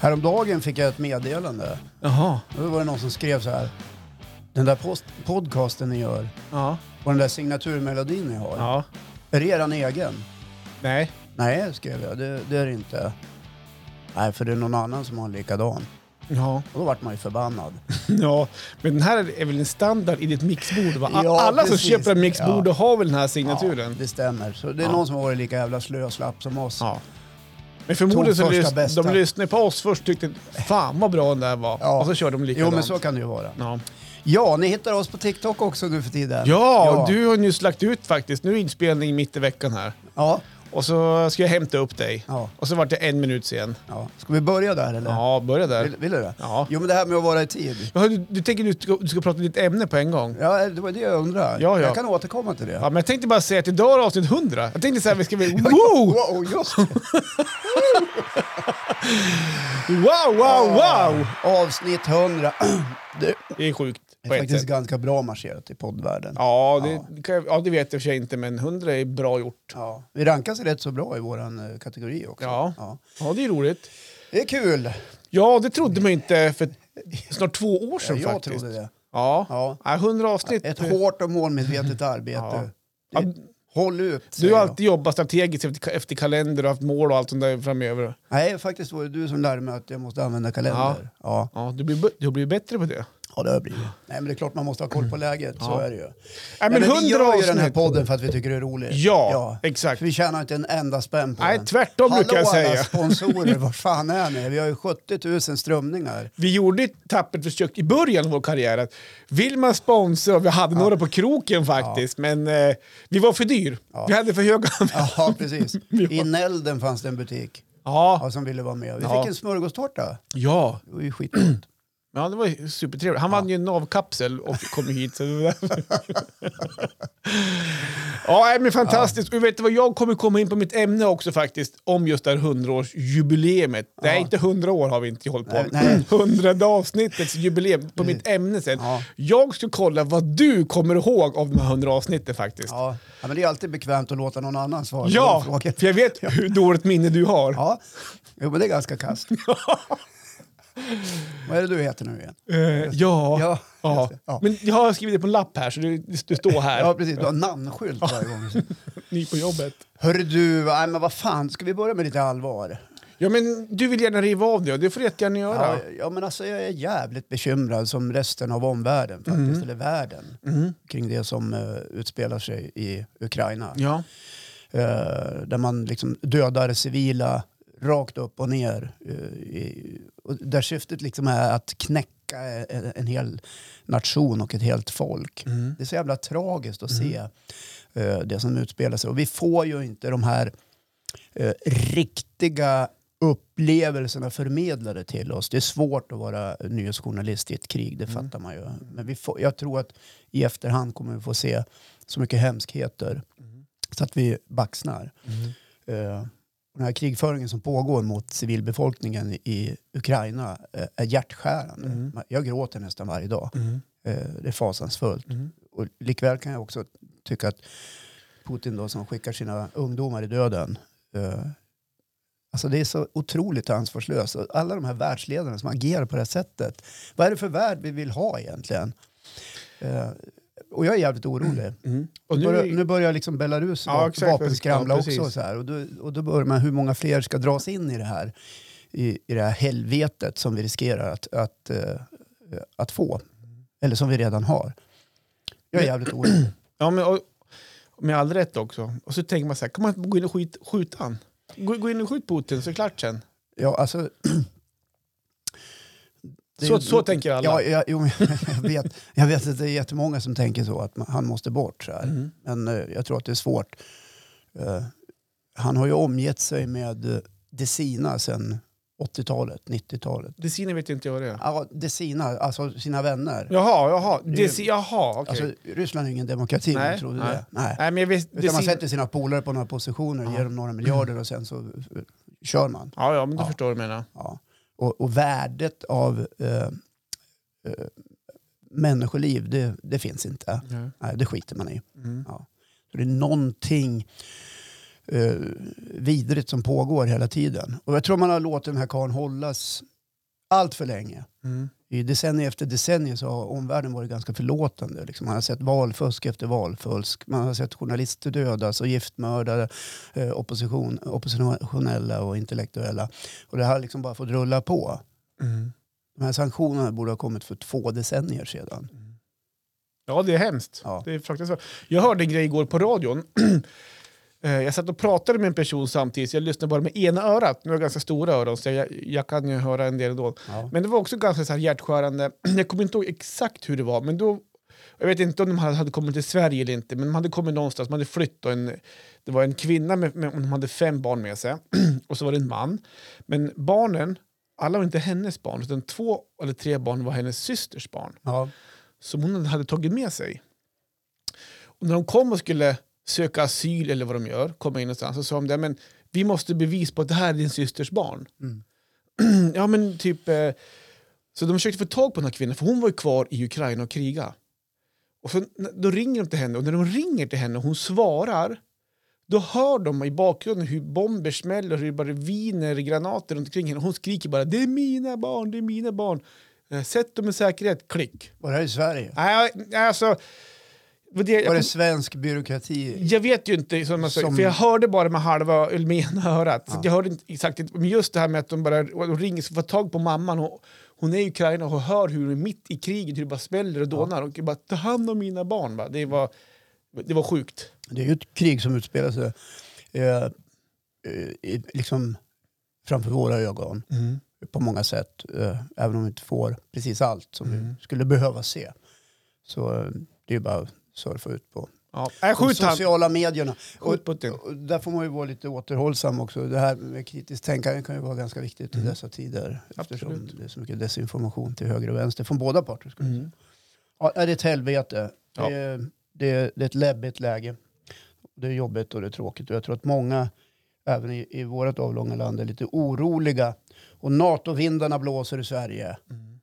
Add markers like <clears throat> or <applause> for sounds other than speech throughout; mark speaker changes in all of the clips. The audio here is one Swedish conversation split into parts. Speaker 1: Häromdagen fick jag ett meddelande.
Speaker 2: Jaha.
Speaker 1: Då var det någon som skrev så här. Den där post- podcasten ni gör
Speaker 2: Ja.
Speaker 1: och den där signaturmelodin ni har.
Speaker 2: Ja.
Speaker 1: Är det eran egen?
Speaker 2: Nej.
Speaker 1: Nej, skrev jag. Det, det är det inte. Nej, för det är någon annan som har en likadan.
Speaker 2: Ja.
Speaker 1: Och då vart man ju förbannad.
Speaker 2: <laughs> ja. Men den här är väl en standard i ditt mixbord va? A-
Speaker 1: Ja,
Speaker 2: Alla
Speaker 1: precis.
Speaker 2: som köper en mixbord
Speaker 1: Ja.
Speaker 2: har väl den här
Speaker 1: Ja,
Speaker 2: signaturen?
Speaker 1: det stämmer. Så det är
Speaker 2: Ja.
Speaker 1: någon som har varit lika jävla slö och slapp som oss.
Speaker 2: Ja. Men förmodligen så
Speaker 1: Tog första
Speaker 2: lys-
Speaker 1: bästa.
Speaker 2: de lyssnade på oss först tyckte fan vad bra den där var.
Speaker 1: Ja.
Speaker 2: Och så kör de
Speaker 1: jo,
Speaker 2: likadant.
Speaker 1: men så kan det ju vara.
Speaker 2: Ja.
Speaker 1: Ja, ni hittar oss på TikTok också nu för tiden.
Speaker 2: Ja, och du har nyss lagt ut faktiskt. Nu är inspelning mitt i veckan här.
Speaker 1: Ja,
Speaker 2: Och så ska jag hämta upp dig.
Speaker 1: ja,
Speaker 2: Och så vart det en minut sen.
Speaker 1: ja. Ska vi börja där eller?
Speaker 2: Ja, börja där.
Speaker 1: Vill, vill du det?
Speaker 2: Ja.
Speaker 1: Jo, men det här med att vara i tid.
Speaker 2: Jaha, Du, du tänker du ska, du ska prata ditt ämne på en gång?
Speaker 1: Ja, det var det jag undrar.
Speaker 2: Ja, ja.
Speaker 1: Jag kan återkomma till det. <laughs>
Speaker 2: Ja, men jag tänkte bara säga att idag är det avsnitt 100. Jag tänkte så här, vi ska väl... Wow!
Speaker 1: Wow, just det.
Speaker 2: Wow, wow, wow!
Speaker 1: Avsnitt 100. <clears throat> Det
Speaker 2: Det är sjukt på
Speaker 1: är
Speaker 2: ett
Speaker 1: faktiskt
Speaker 2: sätt.
Speaker 1: ganska bra marscherat i poddvärlden.
Speaker 2: Ja, det, kan jag- ja, det vet jag i och för sig inte, men 100 är bra gjort.
Speaker 1: Ja, Vi rankas rätt så bra i vår kategori också.
Speaker 2: Ja. Ja, det är roligt.
Speaker 1: Det är kul.
Speaker 2: Ja, det trodde man inte för snart två år
Speaker 1: Ja,
Speaker 2: sedan
Speaker 1: jag
Speaker 2: faktiskt.
Speaker 1: trodde det.
Speaker 2: Ja.
Speaker 1: Ja.
Speaker 2: ja, 100 avsnitt.
Speaker 1: Ett hårt och målmedvetet arbete.
Speaker 2: Ja.
Speaker 1: Det- Håll ut.
Speaker 2: Du
Speaker 1: säger
Speaker 2: har
Speaker 1: jag.
Speaker 2: alltid jobbat strategiskt efter, efter kalender och haft mål och allt sånt där framöver.
Speaker 1: Nej, faktiskt var det du som lärde mig att jag måste använda kalender. Ja,
Speaker 2: Ja, du blir, du blir bättre på det.
Speaker 1: ja det har jag blivit. Nej, men det är klart man måste ha koll på läget. Så
Speaker 2: Ja.
Speaker 1: är det ju.
Speaker 2: Nej,
Speaker 1: Men,
Speaker 2: men
Speaker 1: ja, men vi gör
Speaker 2: 100
Speaker 1: ju den här
Speaker 2: avsnitt.
Speaker 1: podden för att vi tycker det är roligt.
Speaker 2: Ja, exakt.
Speaker 1: För vi tjänar inte en enda spänn på
Speaker 2: Nej,
Speaker 1: den.
Speaker 2: tvärtom brukar jag
Speaker 1: Hallå alla
Speaker 2: säga. <laughs>
Speaker 1: sponsorer, var fan är ni? Vi har ju 70 000 strömningar.
Speaker 2: Vi gjorde ett tappert försök i början av vår karriär. Att vill man sponsra? Vi hade några på kroken faktiskt, men eh, vi var för dyr. Vi hade för höga... <laughs> <laughs> Ja,
Speaker 1: Ja, precis.
Speaker 2: Vi har-
Speaker 1: I Nälden fanns det en butik ja,
Speaker 2: ja.
Speaker 1: som ville vara med. Vi
Speaker 2: Ja.
Speaker 1: fick en smörgåstårta.
Speaker 2: ja.
Speaker 1: Det var ju
Speaker 2: <clears throat>
Speaker 1: skitgott.
Speaker 2: det var ju supertrevligt. Han vann ju en navkapsel och kom hit. Så det var ja, nej, men fantastiskt. Och vet du vad, jag kommer komma in på mitt ämne också faktiskt, om just det här 100-årsjubileumet. Nej, inte 100 år har vi inte hållit på
Speaker 1: Nej,
Speaker 2: <clears throat>
Speaker 1: nej. Mm.
Speaker 2: 100 avsnittets jubileum på mitt ämne sen.
Speaker 1: Ja.
Speaker 2: Jag ska kolla vad du kommer ihåg av de här 100 avsnitten faktiskt. Ja,
Speaker 1: Ja. ja, men det är alltid bekvämt att låta någon annan svara på den frågan.
Speaker 2: för jag vet hur dåligt minne du har.
Speaker 1: Ja, jo, men det är ganska
Speaker 2: <laughs>
Speaker 1: kast. Vad är det du heter nu igen?
Speaker 2: Eh, ja,
Speaker 1: Ja,
Speaker 2: ja,
Speaker 1: just det. Ja.
Speaker 2: Men jag har skrivit det på en lapp här så du, du står här,
Speaker 1: Ja, precis. Du har namnskylt varje gång.
Speaker 2: <laughs> ny på jobbet.
Speaker 1: Hörru du, nej, men vad fan, ska vi börja med lite allvar?
Speaker 2: Ja, men du vill gärna riva av det och det får du jättegärna göra.
Speaker 1: Ja, ja, men alltså jag är jävligt bekymrad som resten av omvärlden faktiskt, eller världen, kring det som eh, utspelar sig i Ukraina.
Speaker 2: Ja.
Speaker 1: Eh, där man liksom dödar civila rakt upp och ner. eh, i, och där syftet liksom är att knäcka en, en hel nation och ett helt folk.
Speaker 2: Mm.
Speaker 1: Det är så jävla tragiskt att se eh, det som utspelar sig. Och vi får ju inte de här eh, riktiga upplevelserna förmedlade till oss. Det är svårt att vara nyhetsjournalist i ett krig, det fattar man ju. Men vi får, jag tror att i efterhand kommer vi få se så mycket hemskheter så att vi baxnar.
Speaker 2: Mm.
Speaker 1: Eh, och den här krigföringen som pågår mot civilbefolkningen i Ukraina eh, är hjärtskärande. Jag gråter nästan varje dag. Eh, det är fasansfullt. Och likväl kan jag också tycka att Putin då, som skickar sina ungdomar i döden eh, Alltså det är så otroligt ansvarslöst. Och Alla de här världsledarna som agerar på det här sättet. Vad är det för värld vi vill ha egentligen? Eh, och jag är jävligt orolig.
Speaker 2: Och nu,
Speaker 1: Nu börjar, nu börjar liksom Belarus
Speaker 2: Ja,
Speaker 1: va-
Speaker 2: exakt.
Speaker 1: vapenskramla
Speaker 2: Ja, precis.
Speaker 1: också. Så här. Och, då, och då börjar man hur många fler ska dras in i det här, i, i det här helvetet som vi riskerar att, att, eh, att få. Eller som vi redan har. Jag är jävligt orolig.
Speaker 2: ja, men, och, med all rätt också. Och så tänker man så här, kan man inte gå in och skit, skjuta han? Gå, gå in och skjut Putin så är det klart sen.
Speaker 1: Ja, alltså, det är
Speaker 2: Så,
Speaker 1: ju-
Speaker 2: så tänker alla.
Speaker 1: Ja, ja, jo, men <laughs> jag, vet, jag vet att det är jättemånga som tänker så, att man, han måste bort. Så här.
Speaker 2: Mm.
Speaker 1: Men eh, jag tror att det är svårt. Eh, han har ju omgett sig med eh, det sina sedan 80-talet, 90-talet.
Speaker 2: Det sina vet ju inte jag vad det är.
Speaker 1: Ja, det sina, alltså sina vänner.
Speaker 2: Jaha, jaha. Det, si- jaha, okej.
Speaker 1: Alltså, Ryssland är ingen demokrati,
Speaker 2: Nej,
Speaker 1: men tror du
Speaker 2: nej.
Speaker 1: det? Nej.
Speaker 2: Nej, men jag vet,
Speaker 1: Utan
Speaker 2: det
Speaker 1: man
Speaker 2: sin-
Speaker 1: sätter sina polare på några positioner, ger dem några miljarder och sen så eh, kör man.
Speaker 2: Ja, ja, men du förstår vad du menar.
Speaker 1: Ja. Och, och värdet av eh, eh, människoliv, det, det finns inte.
Speaker 2: Nej.
Speaker 1: Nej, det skiter man i.
Speaker 2: Mm.
Speaker 1: Ja. Så det är någonting eh, vidrigt som pågår hela tiden. Och jag tror man har låtit den här karln hållas allt för länge.
Speaker 2: Mm.
Speaker 1: I decennier efter decennier så har omvärlden varit ganska förlåtande. Liksom man har sett valfusk efter valfusk. Man har sett journalister dödas och giftmördade, eh, opposition, oppositionella och intellektuella. Och det här har liksom bara fått rulla på.
Speaker 2: Mm.
Speaker 1: De här sanktionerna borde ha kommit för två decennier sedan.
Speaker 2: Ja, det är hemskt.
Speaker 1: Ja.
Speaker 2: Det är fruktansvärt. Jag hörde en grej igår på radion. <clears throat> Eh, jag satt och pratade med en person samtidigt, så jag lyssnade bara med ena örat. Nu har jag ganska stora öron, så jag, jag kan ju höra en del ändå.
Speaker 1: Ja.
Speaker 2: Men det var också ganska så här hjärtskärande. <clears throat> Jag kommer inte ihåg exakt hur det var, men då... Jag vet inte om de hade hade kommit till Sverige eller inte, men de hade kommit någonstans. De hade flytt och en, det var en kvinna med, med hon hade fem barn med sig <clears throat> och så var det en man. Men barnen, alla var inte hennes barn, utan två eller tre barn var hennes systers barn
Speaker 1: Ja.
Speaker 2: som hon hade tagit med sig. Och när de kom och skulle söka asyl eller vad de gör, komma in någonstans, så sa de det, men vi måste bevis på att det här är din systers barn. <clears throat> ja, men typ... eh, Så de försökte få tag på den här kvinnan, för hon var ju kvar i Ukraina och kriga. Och så, n- då ringer de till henne, och när de ringer till henne och hon svarar, då hör de i bakgrunden hur bomber smäller, hur det bara viner granater runt omkring henne. Hon skriker bara “det är mina barn, det är mina barn”. Eh, Sätt dem i säkerhet, klick.
Speaker 1: Var det här i Sverige?
Speaker 2: Nej, alltså... vad Det, jag,
Speaker 1: Var det
Speaker 2: kom-
Speaker 1: svensk byråkrati?
Speaker 2: jag vet ju inte, som man säger,
Speaker 1: Som-
Speaker 2: för jag hörde bara med halva eller med ena örat. Så att jag hörde inte exakt, inte. men just det här med att de bara och ringer, så får tag på mamman. Hon, hon är i Ukraina och hör hur det är mitt i kriget, hur det bara smäller och dånar. Och bara, ta hand om mina barn. Va? Det, var, det var sjukt.
Speaker 1: Det är ju ett krig som utspelar sig eh, eh, i- liksom framför våra ögon på många sätt. Eh, även om vi inte får precis allt som vi skulle behöva se. Så eh, det är ju bara att surfa ut på
Speaker 2: Ja. Nej,
Speaker 1: de
Speaker 2: skjut han.
Speaker 1: sociala medierna. Och,
Speaker 2: Skjut Putin.
Speaker 1: och där får man ju vara lite återhållsam också. Det här med kritiskt tänkande kan ju vara ganska viktigt i dessa tider. Eftersom
Speaker 2: Absolut.
Speaker 1: det är så mycket desinformation till höger och vänster från båda parter. Skulle jag
Speaker 2: Mm.
Speaker 1: säga. Ja, det är ett helvete.
Speaker 2: Ja.
Speaker 1: Det, är, det, är, det är ett läbbigt läge. Det är jobbigt och det är tråkigt. Och jag tror att många, även i, i vårt avlånga land, är lite oroliga. Och NATO-vindarna blåser i Sverige.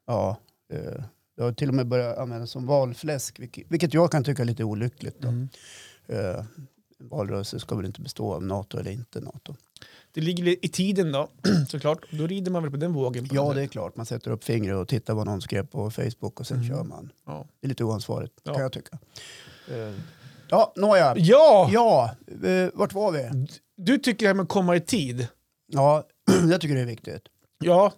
Speaker 1: Ja, eh, det har till och med börjat användas som valfläsk, vilket, vilket jag kan tycka är lite olyckligt. Då.
Speaker 2: Mm.
Speaker 1: Eh, en valrörelse ska väl inte bestå av NATO eller inte NATO.
Speaker 2: Det ligger i tiden då, <clears throat> såklart. Då rider man väl på den vågen. på
Speaker 1: Ja,
Speaker 2: något
Speaker 1: det är
Speaker 2: sätt.
Speaker 1: klart. Man sätter upp fingret och tittar vad någon skrev på Facebook och sen kör man.
Speaker 2: Ja.
Speaker 1: Det är lite oansvarigt,
Speaker 2: Ja.
Speaker 1: kan jag tycka. Eh, Ja, nåja.
Speaker 2: ja!
Speaker 1: Ja, eh, vart var vi?
Speaker 2: Du tycker det här med att komma i tid.
Speaker 1: Ja, <clears throat> jag tycker det är viktigt.
Speaker 2: Ja,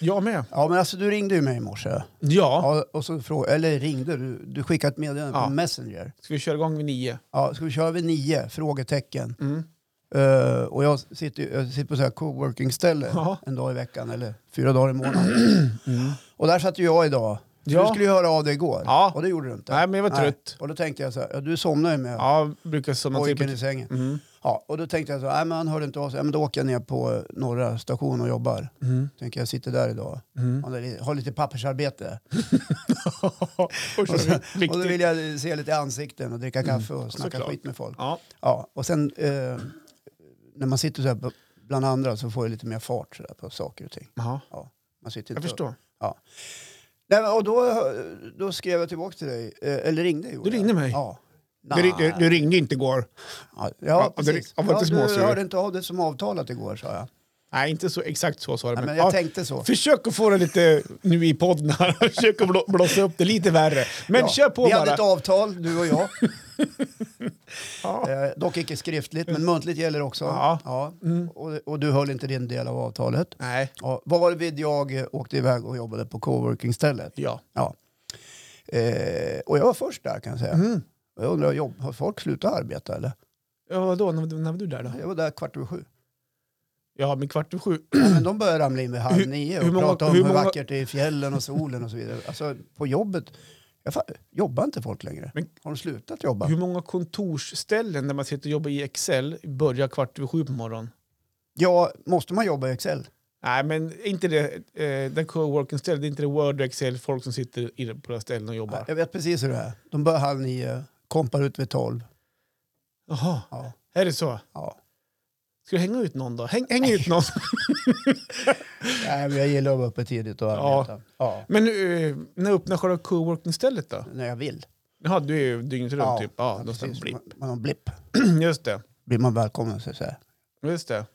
Speaker 2: jag med.
Speaker 1: Ja, men alltså du ringde ju mig i morse.
Speaker 2: Ja.
Speaker 1: Ja, och så fråga, eller ringde, du, du skickade ett meddelande
Speaker 2: Ja.
Speaker 1: på Messenger.
Speaker 2: Ska vi köra igång vid nio?
Speaker 1: Ja, ska vi köra vid nio? Frågetecken.
Speaker 2: Mm.
Speaker 1: Eh, och jag sitter, ju- jag sitter på så här coworking-ställe
Speaker 2: Ja.
Speaker 1: en dag i veckan eller fyra dagar i månaden.
Speaker 2: <clears throat>
Speaker 1: Mm. Och där satt ju jag idag. För
Speaker 2: Ja.
Speaker 1: Du skulle ju höra av dig igår
Speaker 2: Ja.
Speaker 1: och det gjorde du inte.
Speaker 2: Nej, men jag var trött.
Speaker 1: Och då tänkte jag så här, ja, du somnade ju med
Speaker 2: Ja, brukar somna till.
Speaker 1: pojken
Speaker 2: på-
Speaker 1: i sängen.
Speaker 2: Mm.
Speaker 1: Ja, och då tänkte jag så här, nej men han hörde inte av sig. Ja, men då åker jag ner på eh, Norra station och jobbar.
Speaker 2: Mm.
Speaker 1: Tänker jag sitter där idag.
Speaker 2: Mm.
Speaker 1: Har li- Har lite
Speaker 2: <laughs>
Speaker 1: pappersarbete. <laughs>
Speaker 2: Och så-
Speaker 1: Och, så, <laughs> och då
Speaker 2: viktigt. Mm.
Speaker 1: vill jag se lite ansikten och dricka kaffe och snacka
Speaker 2: Såklart.
Speaker 1: skit med folk.
Speaker 2: Ja,
Speaker 1: Ja, och sen eh, när man sitter så här b- bland andra så får jag lite mer fart så där, på saker och ting.
Speaker 2: aha.
Speaker 1: Ja, man sitter inte
Speaker 2: jag förstår.
Speaker 1: Nej, men, och då, då skrev jag tillbaka till dig, eh, eller ringde. gjorde
Speaker 2: Du
Speaker 1: jag.
Speaker 2: ringde mig.
Speaker 1: Ja.
Speaker 2: Du,
Speaker 1: Nej.
Speaker 2: ring- du, du ringde inte igår.
Speaker 1: Ja,
Speaker 2: Ja,
Speaker 1: ja,
Speaker 2: och du-
Speaker 1: precis.
Speaker 2: jag var lite
Speaker 1: ja, du
Speaker 2: småsur.
Speaker 1: hörde inte av dig som avtalat igår sa jag.
Speaker 2: Nej, inte så, exakt så sa du.
Speaker 1: Nej, men
Speaker 2: Men,
Speaker 1: jag
Speaker 2: ja,
Speaker 1: tänkte så.
Speaker 2: Försök att få det lite nu i podden här. <laughs> Försök att blå, blåsa upp det lite värre. Men
Speaker 1: Ja,
Speaker 2: kör på
Speaker 1: Vi hade
Speaker 2: bara.
Speaker 1: ett avtal, du och jag.
Speaker 2: <laughs> Ja.
Speaker 1: eh, dock icke skriftligt, men muntligt gäller också.
Speaker 2: Ja. Mm.
Speaker 1: Och, och du höll inte din del av avtalet.
Speaker 2: Nej,
Speaker 1: Ja, varvid jag eh, åkte iväg och jobbade på coworking-stället.
Speaker 2: ja.
Speaker 1: Ja. Eh, och jag var först där kan jag
Speaker 2: Mm.
Speaker 1: säga.
Speaker 2: Mhm.
Speaker 1: Och Jag undrar, jobb, har folk slutat arbeta eller?
Speaker 2: Ja, vadå? När, när var du där då?
Speaker 1: Jag var där kvart över sju.
Speaker 2: Ja, men kvart
Speaker 1: <clears throat>
Speaker 2: över sju.
Speaker 1: Ja, men de började ramla in vid halv
Speaker 2: Hur-
Speaker 1: nio och
Speaker 2: hur många-
Speaker 1: prata om
Speaker 2: hur
Speaker 1: hur,
Speaker 2: många-
Speaker 1: vackert det är i fjällen och solen och så vidare. Alltså på jobbet, jag fa- jobbar inte folk längre.
Speaker 2: Men-
Speaker 1: har de slutat jobba?
Speaker 2: Hur många kontorsställen där man sitter och jobbar i Excel börjar kvart över sju på morgonen?
Speaker 1: Ja, måste man jobba i Excel?
Speaker 2: Nej, men inte det. Eh, den coworking stället, det är inte det Word och Excel, folk som sitter i, på de ställen och jobbar.
Speaker 1: Jag vet precis hur det är. De börjar halv nio, kompar ut vid tolv.
Speaker 2: Jaha,
Speaker 1: Ja,
Speaker 2: är det så?
Speaker 1: ja.
Speaker 2: Ska du hänga ut någon då? Häng, häng ut någon.
Speaker 1: Nej, men jag gillar att vara uppe tidigt och
Speaker 2: Ja.
Speaker 1: arbeta. Ja.
Speaker 2: Men eh, när öppnar själva coworking stället då?
Speaker 1: När jag vill.
Speaker 2: Jaha, du är ju dygnet runt typ. Ja, någonstans.
Speaker 1: precis.
Speaker 2: Blipp.
Speaker 1: Man, man har blipp.
Speaker 2: <clears throat> Just det.
Speaker 1: Blir man välkommen så säger
Speaker 2: Just det.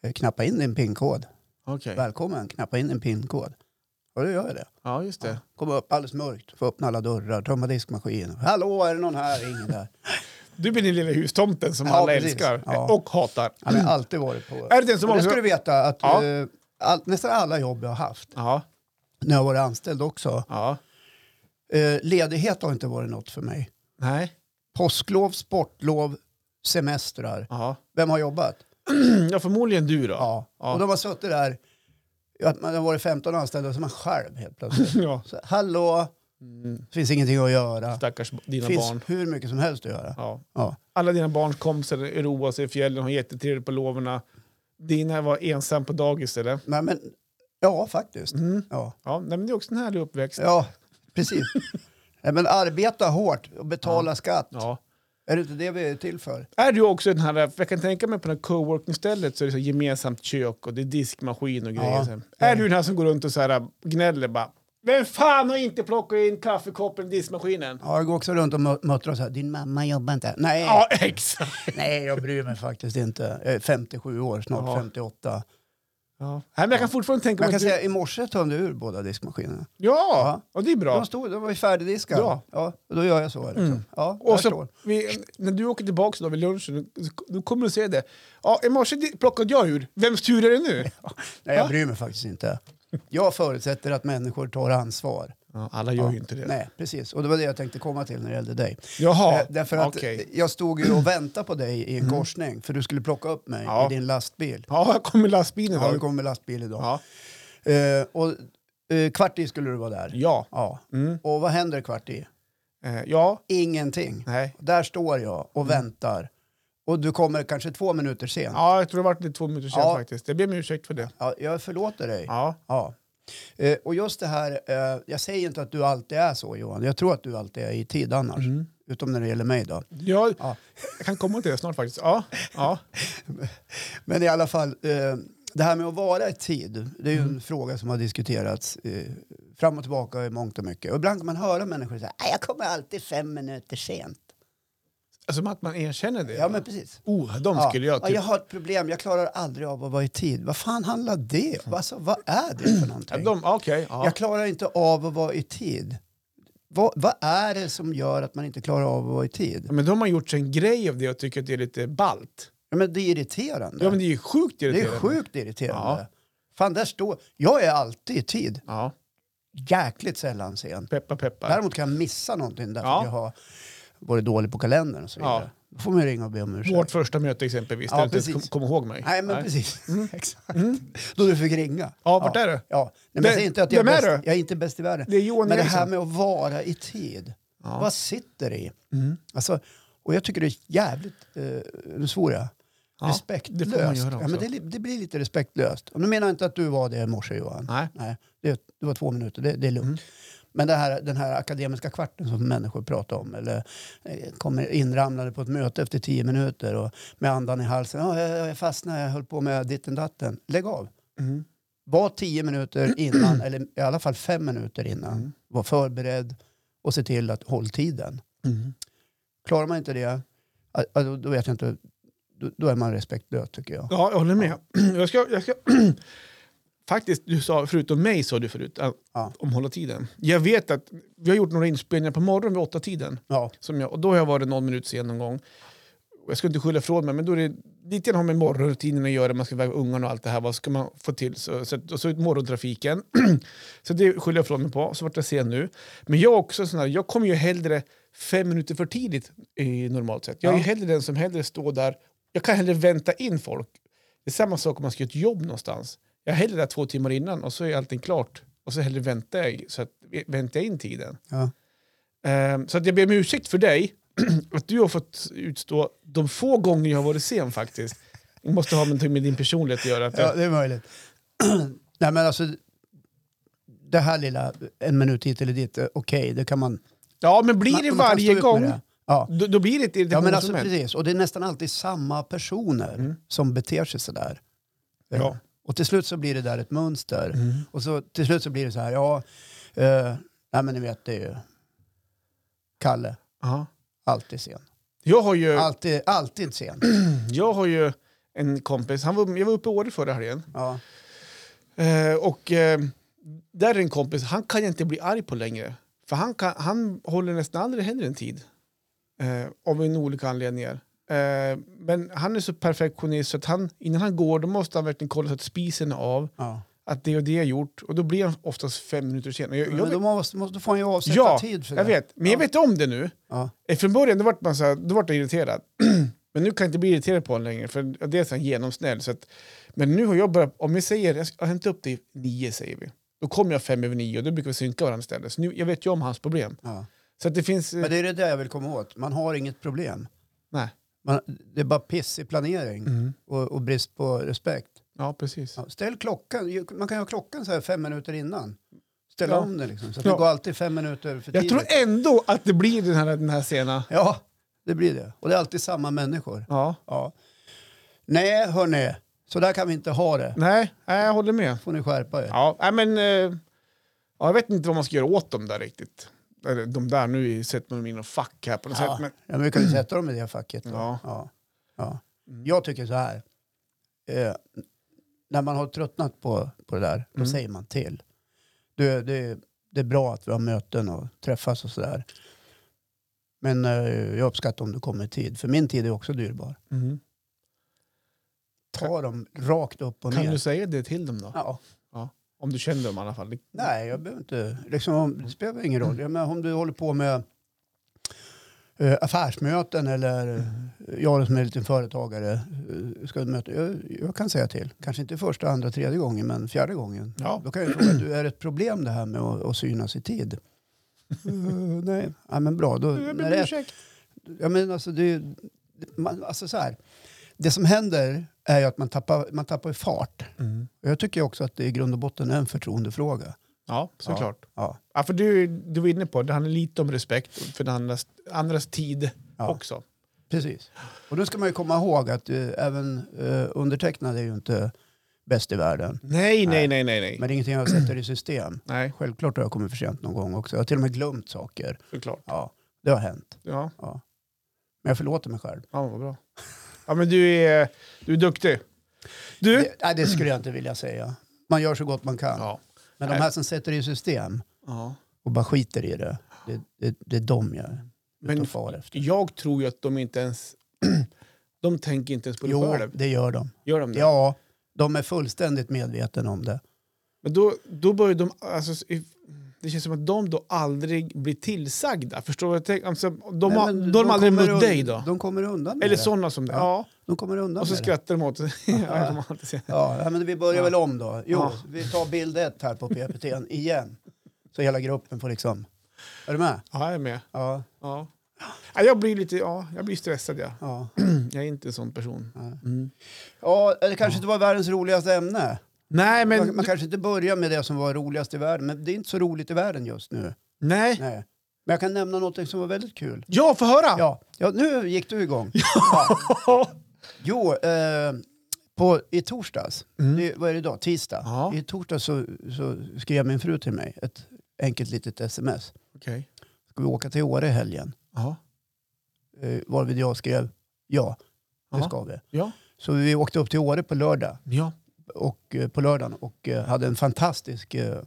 Speaker 1: jag, knappa in din pinkod.
Speaker 2: Okej.
Speaker 1: Välkommen, knappa in din pinkod. Och då gör jag det.
Speaker 2: Ja, just det.
Speaker 1: Kommer upp alldeles mörkt, får öppna alla dörrar, tömma diskmaskinen. Hallå, är det någon här? Ingen där.
Speaker 2: Du blir den lilla hustomten som
Speaker 1: Ja,
Speaker 2: alla
Speaker 1: precis.
Speaker 2: älskar
Speaker 1: Ja.
Speaker 2: och hatar.
Speaker 1: Han har alltid varit på...
Speaker 2: Är det den som
Speaker 1: Och
Speaker 2: också-
Speaker 1: det ska du veta att
Speaker 2: Ja.
Speaker 1: eh, all, nästan alla jobb jag har haft,
Speaker 2: Ja,
Speaker 1: när jag har varit anställd också,
Speaker 2: ja.
Speaker 1: eh, ledighet har inte varit något för mig.
Speaker 2: Nej.
Speaker 1: Påsklov, sportlov, semestrar.
Speaker 2: Ja. <clears throat>
Speaker 1: Vem har jobbat?
Speaker 2: ja, förmodligen du då.
Speaker 1: Ja.
Speaker 2: Ja.
Speaker 1: Och de har suttit där, att man har varit 15 anställda och så är man själv helt
Speaker 2: <laughs>
Speaker 1: plötsligt.
Speaker 2: <clears throat> Ja.
Speaker 1: Så, Hallå,
Speaker 2: Mm,
Speaker 1: finns ingenting att göra.
Speaker 2: stackars dina
Speaker 1: finns
Speaker 2: barn.
Speaker 1: hur mycket som helst att göra.
Speaker 2: Ja.
Speaker 1: Ja.
Speaker 2: Alla dina barns kompisar roar sig i fjällen, har jättetrevligt på loven. Dina var ensam på dagis, eller?
Speaker 1: Nej, men, ja, faktiskt.
Speaker 2: Mm.
Speaker 1: Ja.
Speaker 2: Ja, nej, men det är också en härlig uppväxt.
Speaker 1: Ja, <laughs> precis. Nej, men arbeta hårt och betala skatt.
Speaker 2: Ja.
Speaker 1: Är det inte det vi är till för?
Speaker 2: Är du också den här, för jag kan tänka mig på det här coworking-stället så är det så gemensamt kök och det är diskmaskin och grejer.
Speaker 1: Ja.
Speaker 2: Så här, Är du den här som går runt och så här, äh, gnäller bara? Vem fan har inte plockat in kaffekoppen i diskmaskinen?
Speaker 1: Ja, jag går också runt och mö- muttrar så här, din mamma jobbar inte. Nej,
Speaker 2: Ja, <laughs> exakt.
Speaker 1: nej, jag bryr mig faktiskt inte. Jag är 57 år, snart
Speaker 2: Ja.
Speaker 1: 58.
Speaker 2: Ja. Nej, men jag kan fortfarande tänka
Speaker 1: Men jag
Speaker 2: mig...
Speaker 1: kan
Speaker 2: att
Speaker 1: säga,
Speaker 2: du...
Speaker 1: i morse tömde jag ur båda diskmaskinerna.
Speaker 2: Ja, och det är bra.
Speaker 1: De, stod, de var ju färdigdiskade.
Speaker 2: Ja.
Speaker 1: Ja, och då gör jag så. Liksom. Ja,
Speaker 2: Och
Speaker 1: där står
Speaker 2: så,
Speaker 1: den.
Speaker 2: vi, när du åker tillbaka då vid lunchen, då- då kommer du se det. Ja, i morse di- plockade jag ur. Vems tur är det nu?
Speaker 1: Nej, jag bryr mig faktiskt inte. Jag förutsätter att människor tar ansvar.
Speaker 2: Ja, alla gör ju inte det.
Speaker 1: Nej, precis. Och det var det jag tänkte komma till när det gällde dig.
Speaker 2: Jaha,
Speaker 1: Eh, Därför att
Speaker 2: okej. Mm.
Speaker 1: jag stod ju och väntade på dig i en korsning för du skulle plocka upp mig
Speaker 2: Ja.
Speaker 1: i din lastbil.
Speaker 2: Ja, jag kom i lastbilen.
Speaker 1: Ja,
Speaker 2: Ja,
Speaker 1: du kommer med lastbil idag.
Speaker 2: ja.
Speaker 1: Eh, och, eh, kvart i skulle du vara där.
Speaker 2: ja.
Speaker 1: Ja.
Speaker 2: Mm.
Speaker 1: Och vad händer kvart i?
Speaker 2: Eh, ja.
Speaker 1: Ingenting.
Speaker 2: Nej. Mm.
Speaker 1: Där står jag och väntar. Och du kommer kanske två minuter sent. Ja.
Speaker 2: Ja, jag tror det var lite två minuter sen
Speaker 1: Ja.
Speaker 2: faktiskt. Jag ber om ursäkt för det.
Speaker 1: jag förlåter dig. Ja.
Speaker 2: Ja.
Speaker 1: Eh, och just det här, eh, jag säger inte att du alltid är så Johan. Jag tror att du alltid är i tid annars.
Speaker 2: Mm.
Speaker 1: Utom när det gäller mig då.
Speaker 2: Jag,
Speaker 1: Ja.
Speaker 2: jag kan komma till det snart faktiskt. Ja, ja.
Speaker 1: Men i alla fall, eh, det här med att vara i tid, det är ju
Speaker 2: Mm.
Speaker 1: en fråga som har diskuterats eh, fram och tillbaka i mångt och mycket. Och ibland kan man höra människor säga "Nej, jag kommer alltid fem minuter sent.
Speaker 2: Alltså, Som att man erkänner det.
Speaker 1: Ja, men precis.
Speaker 2: Oh, de
Speaker 1: Ja.
Speaker 2: skulle jag
Speaker 1: ja,
Speaker 2: typ...
Speaker 1: jag har ett problem, jag klarar aldrig av att vara i tid. Vad fan handlar det om? Alltså, vad är det för
Speaker 2: Mm. Ja,
Speaker 1: någonting?
Speaker 2: de, okej, ja.
Speaker 1: Jag klarar inte av att vara i tid. Vad, vad är det som gör att man inte klarar av att vara i tid?
Speaker 2: Ja, Men de har gjort sig en grej av det och tycker att det är lite balt.
Speaker 1: Ja, men det är irriterande.
Speaker 2: Ja, men det är ju sjukt
Speaker 1: det är
Speaker 2: irriterande.
Speaker 1: sjukt irriterande.
Speaker 2: Ja.
Speaker 1: Fan, där står... Jag är alltid i tid.
Speaker 2: Ja,
Speaker 1: jäkligt sällan sen.
Speaker 2: peppa peppa.
Speaker 1: Däremot kan jag missa någonting därför
Speaker 2: Ja.
Speaker 1: att jag har varit dålig på kalendern och så vidare. Då får man ju ringa och be om ursäkt.
Speaker 2: Vårt första möte exempelvis,
Speaker 1: Ja,
Speaker 2: där du inte
Speaker 1: precis.
Speaker 2: ens kom, kom ihåg mig.
Speaker 1: Nej, men
Speaker 2: <laughs>
Speaker 1: precis. Exakt. Mm. Då du fick ringa.
Speaker 2: Mm. Ja, vart är du?
Speaker 1: Ja. Nej, men jag
Speaker 2: Det-
Speaker 1: säger inte att jag
Speaker 2: vem är
Speaker 1: är, bäst,
Speaker 2: du?
Speaker 1: jag är inte bäst i världen.
Speaker 2: Det är Johan
Speaker 1: men det här
Speaker 2: Eriksson.
Speaker 1: med att vara i tid,
Speaker 2: Ja. Mm.
Speaker 1: vad sitter i? Alltså, och jag tycker det är jävligt, eh, nu svor jag,
Speaker 2: Ja,
Speaker 1: respektlöst.
Speaker 2: det får man göra också.
Speaker 1: ja, men det, li- det blir lite respektlöst. Och nu menar jag inte att du var det i morse Johan.
Speaker 2: Nej.
Speaker 1: Nej, det, det var två minuter, det, det är lugnt.
Speaker 2: Mm.
Speaker 1: Men det här, den här akademiska kvarten som människor pratar om eller eh, kommer inramlade på ett möte efter tio minuter och med andan i halsen. "Ja, jag, jag fastnade, jag höll på med ditten datten. Lägg av.
Speaker 2: Mm.
Speaker 1: Var tio minuter
Speaker 2: <clears throat>
Speaker 1: innan, eller i alla fall fem minuter innan. Var förberedd och se till att håll tiden.
Speaker 2: Mm.
Speaker 1: Klarar man inte det, ja, ja, då, då vet jag inte. Då, då är man respektlös tycker jag.
Speaker 2: Ja, jag håller med. <clears throat> Jag ska, jag ska, faktiskt, du sa, förutom mig sa du förut, äh,
Speaker 1: Ja.
Speaker 2: om hålla tiden. Jag vet att vi har gjort några inspelningar på morgonen vid åtta tiden
Speaker 1: Ja,
Speaker 2: som jag, och då har jag varit någon minut sen någon gång. Och Jag ska inte skylla ifrån mig, men då är det lite grann har med morgonrutinen att göra, man ska väga ungarna och allt det här, vad ska man få till? Så, så, att- och så ut morgontrafiken. <clears throat> så det skyller jag ifrån mig på, så vart jag sen nu. Men jag är också sån här, jag kommer ju hellre fem minuter för tidigt i normalt sett. Jag är
Speaker 1: Ja.
Speaker 2: ju hellre den som hellre står där, jag kan hellre vänta in folk. Det är samma sak om man ska göra ett jobb någonstans. Jag är hellre där två timmar innan och så är allting klart. Och så hellre väntar jag, så att, väntar jag in tiden.
Speaker 1: ja.
Speaker 2: Ehm, Så att jag ber om ursäkt för dig, <clears throat> att du har fått utstå de få gånger jag har varit sen faktiskt. Det måste ha någonting med din personlighet att göra. Att
Speaker 1: ja
Speaker 2: jag,
Speaker 1: det är möjligt. <clears throat> Nej, men alltså, det här lilla, en minut hit eller dit, eh, okej, det kan man...
Speaker 2: ja, men blir
Speaker 1: man-
Speaker 2: det
Speaker 1: man kan stå
Speaker 2: varje
Speaker 1: ut med
Speaker 2: gång,
Speaker 1: det. Ja.
Speaker 2: då, då blir det ett
Speaker 1: Ja, men alltså,
Speaker 2: irritationsmoment.
Speaker 1: precis. Och det är nästan alltid samma personer som beter sig sådär. Eh,
Speaker 2: Mm. Ja. Mm.
Speaker 1: Och till slut så blir det där ett mönster. Och så, till slut så blir det så här, ja, eh, nej men ni vet det är ju Kalle,
Speaker 2: Ja.
Speaker 1: alltid sen.
Speaker 2: Jag har ju,
Speaker 1: Alltid, alltid sen.
Speaker 2: jag har ju en kompis, han var, jag var uppe i Åre förra helgen.
Speaker 1: Ja.
Speaker 2: Eh, och eh, där är en kompis, han kan jag inte bli arg på längre. För han, kan, han håller nästan aldrig hellre en tid. Eh, av en olika anledningar. Eh, men han är så perfektionist så att han, innan han går då måste han verkligen kolla så att spisen är av.
Speaker 1: Ja.
Speaker 2: Att det och det är gjort. Och då blir han oftast fem minuter sen. Jag, jag,
Speaker 1: Men då,
Speaker 2: vet-
Speaker 1: måste, måste, då får han ju avsätta
Speaker 2: ja,
Speaker 1: tid för
Speaker 2: jag
Speaker 1: det.
Speaker 2: vet. Men jag vet om det nu.
Speaker 1: Ja.
Speaker 2: Eh, Från början då vart man så här, då vart jag irriterad. <clears throat> men nu kan jag inte bli irriterad på honom längre för dels är han genomsnäll. Så att, men nu har jag börjat, om vi säger, jag ska hämta upp dig nio säger vi. Då kommer jag fem över nio och då brukar vi synka varandra istället. Så nu, jag vet ju om hans problem.
Speaker 1: Ja.
Speaker 2: Så att det finns... eh,
Speaker 1: Men det är det där jag vill komma åt. Man har inget problem.
Speaker 2: Nej.
Speaker 1: Man, det är bara pissig planering
Speaker 2: Mm.
Speaker 1: och, och brist på respekt.
Speaker 2: Ja, precis.
Speaker 1: Ja, ställ klockan. Ju- Man kan ju ha klockan så här fem minuter innan. Ställa
Speaker 2: Ja.
Speaker 1: om den liksom. Så att
Speaker 2: Ja.
Speaker 1: det går alltid fem minuter för
Speaker 2: Jag
Speaker 1: tidigt.
Speaker 2: tror ändå att det blir den här, den här sena...
Speaker 1: Ja, det blir det. Och det är alltid samma människor.
Speaker 2: Ja.
Speaker 1: Ja. Nej, hörni. Så där kan vi inte ha det.
Speaker 2: Nej, nej, jag håller med.
Speaker 1: får ni skärpa er.
Speaker 2: Ja, nej, men... eh, Ja, jag vet inte vad man ska göra åt dem där riktigt. Eller de där, nu sätter man dem i någon fack här på något
Speaker 1: Ja,
Speaker 2: sätt. Men,
Speaker 1: ja, men vi kan ju sätta dem i det facket. Då.
Speaker 2: Ja. Mm.
Speaker 1: Ja. Ja. Jag tycker så här. Eh, när man har tröttnat på, på det där,
Speaker 2: Mm.
Speaker 1: då säger man till. Du, det, det är bra att vi har möten och träffas och sådär. Men eh, jag uppskattar om du kommer i tid, för min tid är också dyrbar.
Speaker 2: Mhm.
Speaker 1: Ta dem rakt upp och
Speaker 2: Kan
Speaker 1: ner.
Speaker 2: du säga det till dem då?
Speaker 1: Ja.
Speaker 2: Om du känner dem i alla fall. Det-
Speaker 1: Nej, jag behöver inte. Liksom, om- det spelar ingen
Speaker 2: Mm.
Speaker 1: roll. Jag menar, om du håller på med eh, affärsmöten eller
Speaker 2: Mm.
Speaker 1: eh, jag som är en liten företagare eh, ska möta. Jag, jag kan säga till. Kanske inte första, andra, tredje gången, men fjärde gången.
Speaker 2: Ja.
Speaker 1: Då kan jag fråga, du är det ett problem det här med att, att synas i tid? Eh, nej, ja, men bra. Då,
Speaker 2: Jag
Speaker 1: när
Speaker 2: ber om
Speaker 1: det är
Speaker 2: ursäkt.
Speaker 1: Ja, men alltså, det, är ju- man, alltså så här. Det som händer är ju att man tappar, man tappar i fart. Och Jag tycker också att det i grund och botten är en förtroendefråga.
Speaker 2: Ja, såklart.
Speaker 1: Ja,
Speaker 2: Ja. för du, du var inne på det handlar lite om respekt för den andras, andras tid
Speaker 1: Ja.
Speaker 2: också.
Speaker 1: precis. Och då ska man ju komma ihåg att eh, även eh, undertecknad är ju inte bäst i världen.
Speaker 2: Nej, nej, nej, nej, nej.
Speaker 1: Men det är ingenting jag sätter i system.
Speaker 2: Nej,
Speaker 1: Självklart har jag kommit för sent någon gång också. Jag har till och med glömt saker.
Speaker 2: såklart.
Speaker 1: Ja, det har hänt.
Speaker 2: Ja,
Speaker 1: Ja. Men jag förlåter mig själv.
Speaker 2: ja vad bra. Ja, men du är, du är duktig. Du?
Speaker 1: Det, nej, det skulle jag inte vilja säga. Man gör så gott man kan.
Speaker 2: Mm. Ja.
Speaker 1: Men de här som sätter det i system,
Speaker 2: ja.
Speaker 1: och bara skiter i det. Det, det, det är dem jag
Speaker 2: Men-
Speaker 1: men, tar far efter.
Speaker 2: Jag tror ju att de inte ens... <clears throat> de tänker inte ens på det
Speaker 1: Jo,
Speaker 2: själv.
Speaker 1: det gör de.
Speaker 2: Gör de det?
Speaker 1: Ja, de är fullständigt medvetna om det.
Speaker 2: Men då, då börjar de... Alltså, if- det känns som att de då aldrig blir tillsagda. Förstår du vad jag tänker? Alltså, de,
Speaker 1: Nej,
Speaker 2: har,
Speaker 1: men
Speaker 2: de, har aldrig
Speaker 1: kommer
Speaker 2: mött
Speaker 1: un-
Speaker 2: dig då?
Speaker 1: De kommer undan med
Speaker 2: Eller
Speaker 1: det.
Speaker 2: sådana som det. Ja.
Speaker 1: De kommer undan
Speaker 2: Och så
Speaker 1: med det.
Speaker 2: skrattar de åt det. Ja, <laughs> jag kommer alltid säga.
Speaker 1: Ja, nej, men vi börjar
Speaker 2: Ja.
Speaker 1: väl om då. Jo,
Speaker 2: Ja.
Speaker 1: vi tar bild ett här på PPT igen. Så hela gruppen får liksom... Är du med?
Speaker 2: ja, jag är med.
Speaker 1: Ja.
Speaker 2: Ja. Ja, jag blir lite ja, jag blir stressad. Ja. <clears throat>
Speaker 1: Ja,
Speaker 2: Jag är inte en sån person.
Speaker 1: ja det kanske inte var världens roligaste ämne.
Speaker 2: Nej, men...
Speaker 1: man, man kanske inte börjar med det som var roligast i världen, men det är inte så roligt i världen just nu.
Speaker 2: nej.
Speaker 1: Nej. Men jag kan nämna något som var väldigt kul.
Speaker 2: Ja, få höra!
Speaker 1: Ja, ja nu gick du igång. Ja. Jo, eh, på, i torsdags, det, vad är det idag, tisdag?
Speaker 2: Mm. Ja.
Speaker 1: I torsdags så, så skrev min fru till mig ett enkelt litet sms.
Speaker 2: Okej.
Speaker 1: Ska vi åka till Åre i helgen?
Speaker 2: Ja.
Speaker 1: Eh, varvid jag skrev ja, det
Speaker 2: Ja.
Speaker 1: ska vi.
Speaker 2: Ja.
Speaker 1: Så vi åkte upp till Åre på, lördag
Speaker 2: Ja.
Speaker 1: och, eh, på lördagen och eh, hade en fantastisk, eh,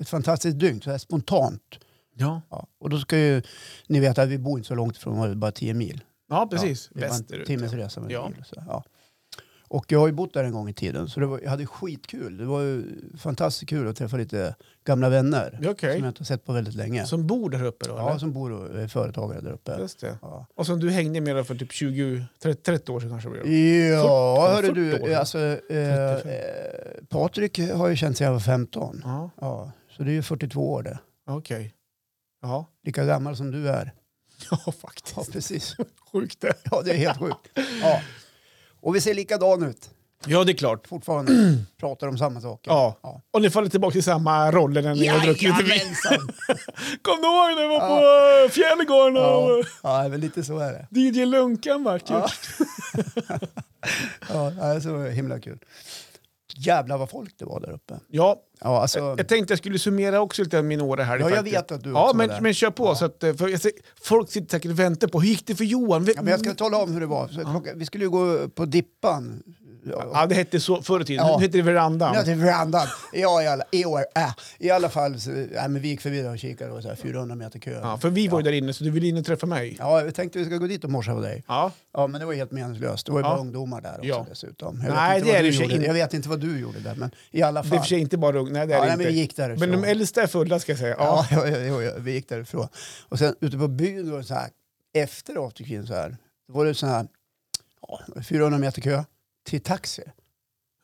Speaker 1: ett fantastiskt dygn, så här spontant.
Speaker 2: Ja.
Speaker 1: Ja. Och då ska ju ni veta att vi bor inte så långt från Åre, bara 10 mil.
Speaker 2: Ja, precis.
Speaker 1: Det var en
Speaker 2: Västerut.
Speaker 1: timmes
Speaker 2: ja.
Speaker 1: resa med
Speaker 2: Ja.
Speaker 1: bil. Så, ja. Och jag har ju bott där en gång i tiden så det var, jag hade skitkul. Det var ju fantastiskt kul att träffa lite gamla vänner
Speaker 2: Ja, Okej.
Speaker 1: som jag inte har sett på väldigt länge.
Speaker 2: Som bor där uppe då?
Speaker 1: ja,
Speaker 2: eller?
Speaker 1: som bor och är företagare där uppe.
Speaker 2: Just det.
Speaker 1: Ja,
Speaker 2: Och som du hängde med då för typ 20, 30, 30 år sedan kanske? det blev.
Speaker 1: ja hörru
Speaker 2: 40 år
Speaker 1: du,
Speaker 2: sedan.
Speaker 1: alltså, eh, eh, Patrik har ju känt sig jag var 15.
Speaker 2: Ja,
Speaker 1: Ja, så det är ju 42 år det.
Speaker 2: okej. Ja.
Speaker 1: Lika gammal som du är.
Speaker 2: ja,
Speaker 1: <laughs> Ja,
Speaker 2: faktiskt.
Speaker 1: precis.
Speaker 2: Sjukt det.
Speaker 1: <laughs> Ja, det är helt sjukt. Ja. Och vi ser likadan ut
Speaker 2: Ja, det är
Speaker 1: <clears throat>
Speaker 2: klart.
Speaker 1: fortfarande. Pratar om samma saker.
Speaker 2: Ja.
Speaker 1: Ja.
Speaker 2: Och ni faller tillbaka till samma roller när ni har druckit lite vin. <laughs>
Speaker 1: Jajamensan!
Speaker 2: Kommer du ihåg när vi var på eh, Fjällgården
Speaker 1: Ja,
Speaker 2: och
Speaker 1: ja men lite så är det.
Speaker 2: DJ Lunkan vart ju.
Speaker 1: Ja. Ja, det är så himla kul. Jävlar vad folk det var där uppe.
Speaker 2: Ja,
Speaker 1: Ja, alltså,
Speaker 2: jag tänkte jag skulle summera också lite av min åre här.
Speaker 1: ja jag
Speaker 2: faktiskt.
Speaker 1: vet att du
Speaker 2: Ja,
Speaker 1: också var där.
Speaker 2: men, men kör på. Så att, eh, för jag ser, folk sitter säkert och väntar på hur gick det för Johan?
Speaker 1: Ja, men jag ska tala om hur det var. Så, plocka, vi skulle ju gå på Dippan,
Speaker 2: Ja, det hette så förr i tiden.
Speaker 1: Ja.
Speaker 2: Nu heter det verandan.
Speaker 1: Ja, till verandan. Ja, i alla, i, år, äh. I alla fall, så, äh, men vi gick förbi där och kikade och så här, 400 meter kö.
Speaker 2: Ja, för vi var ju där inne, så du ville in och träffa mig.
Speaker 1: Ja, jag tänkte vi ska gå dit och morsa på dig.
Speaker 2: Ja.
Speaker 1: Ja, men det var helt meningslöst. Det var ju
Speaker 2: Ja.
Speaker 1: bara ungdomar där också
Speaker 2: Ja.
Speaker 1: dessutom. Jag
Speaker 2: Nej,
Speaker 1: vet inte
Speaker 2: det
Speaker 1: vad du
Speaker 2: är det i och för sig
Speaker 1: gjorde.
Speaker 2: inte.
Speaker 1: Jag vet inte vad du gjorde där, men i alla
Speaker 2: Det är i och
Speaker 1: fall.
Speaker 2: för sig inte bara unga. Nej, det är
Speaker 1: Ja,
Speaker 2: det
Speaker 1: nej,
Speaker 2: inte.
Speaker 1: men vi gick därifrån.
Speaker 2: Men de äldsta är fulla, ska jag säga. Ja.
Speaker 1: Ja, <laughs> ja, ja, ja, ja, vi gick därifrån. Och sen ute på byn då, så här, efter afterkin så här, då var det så här, ja, 400 meter kö till taxi.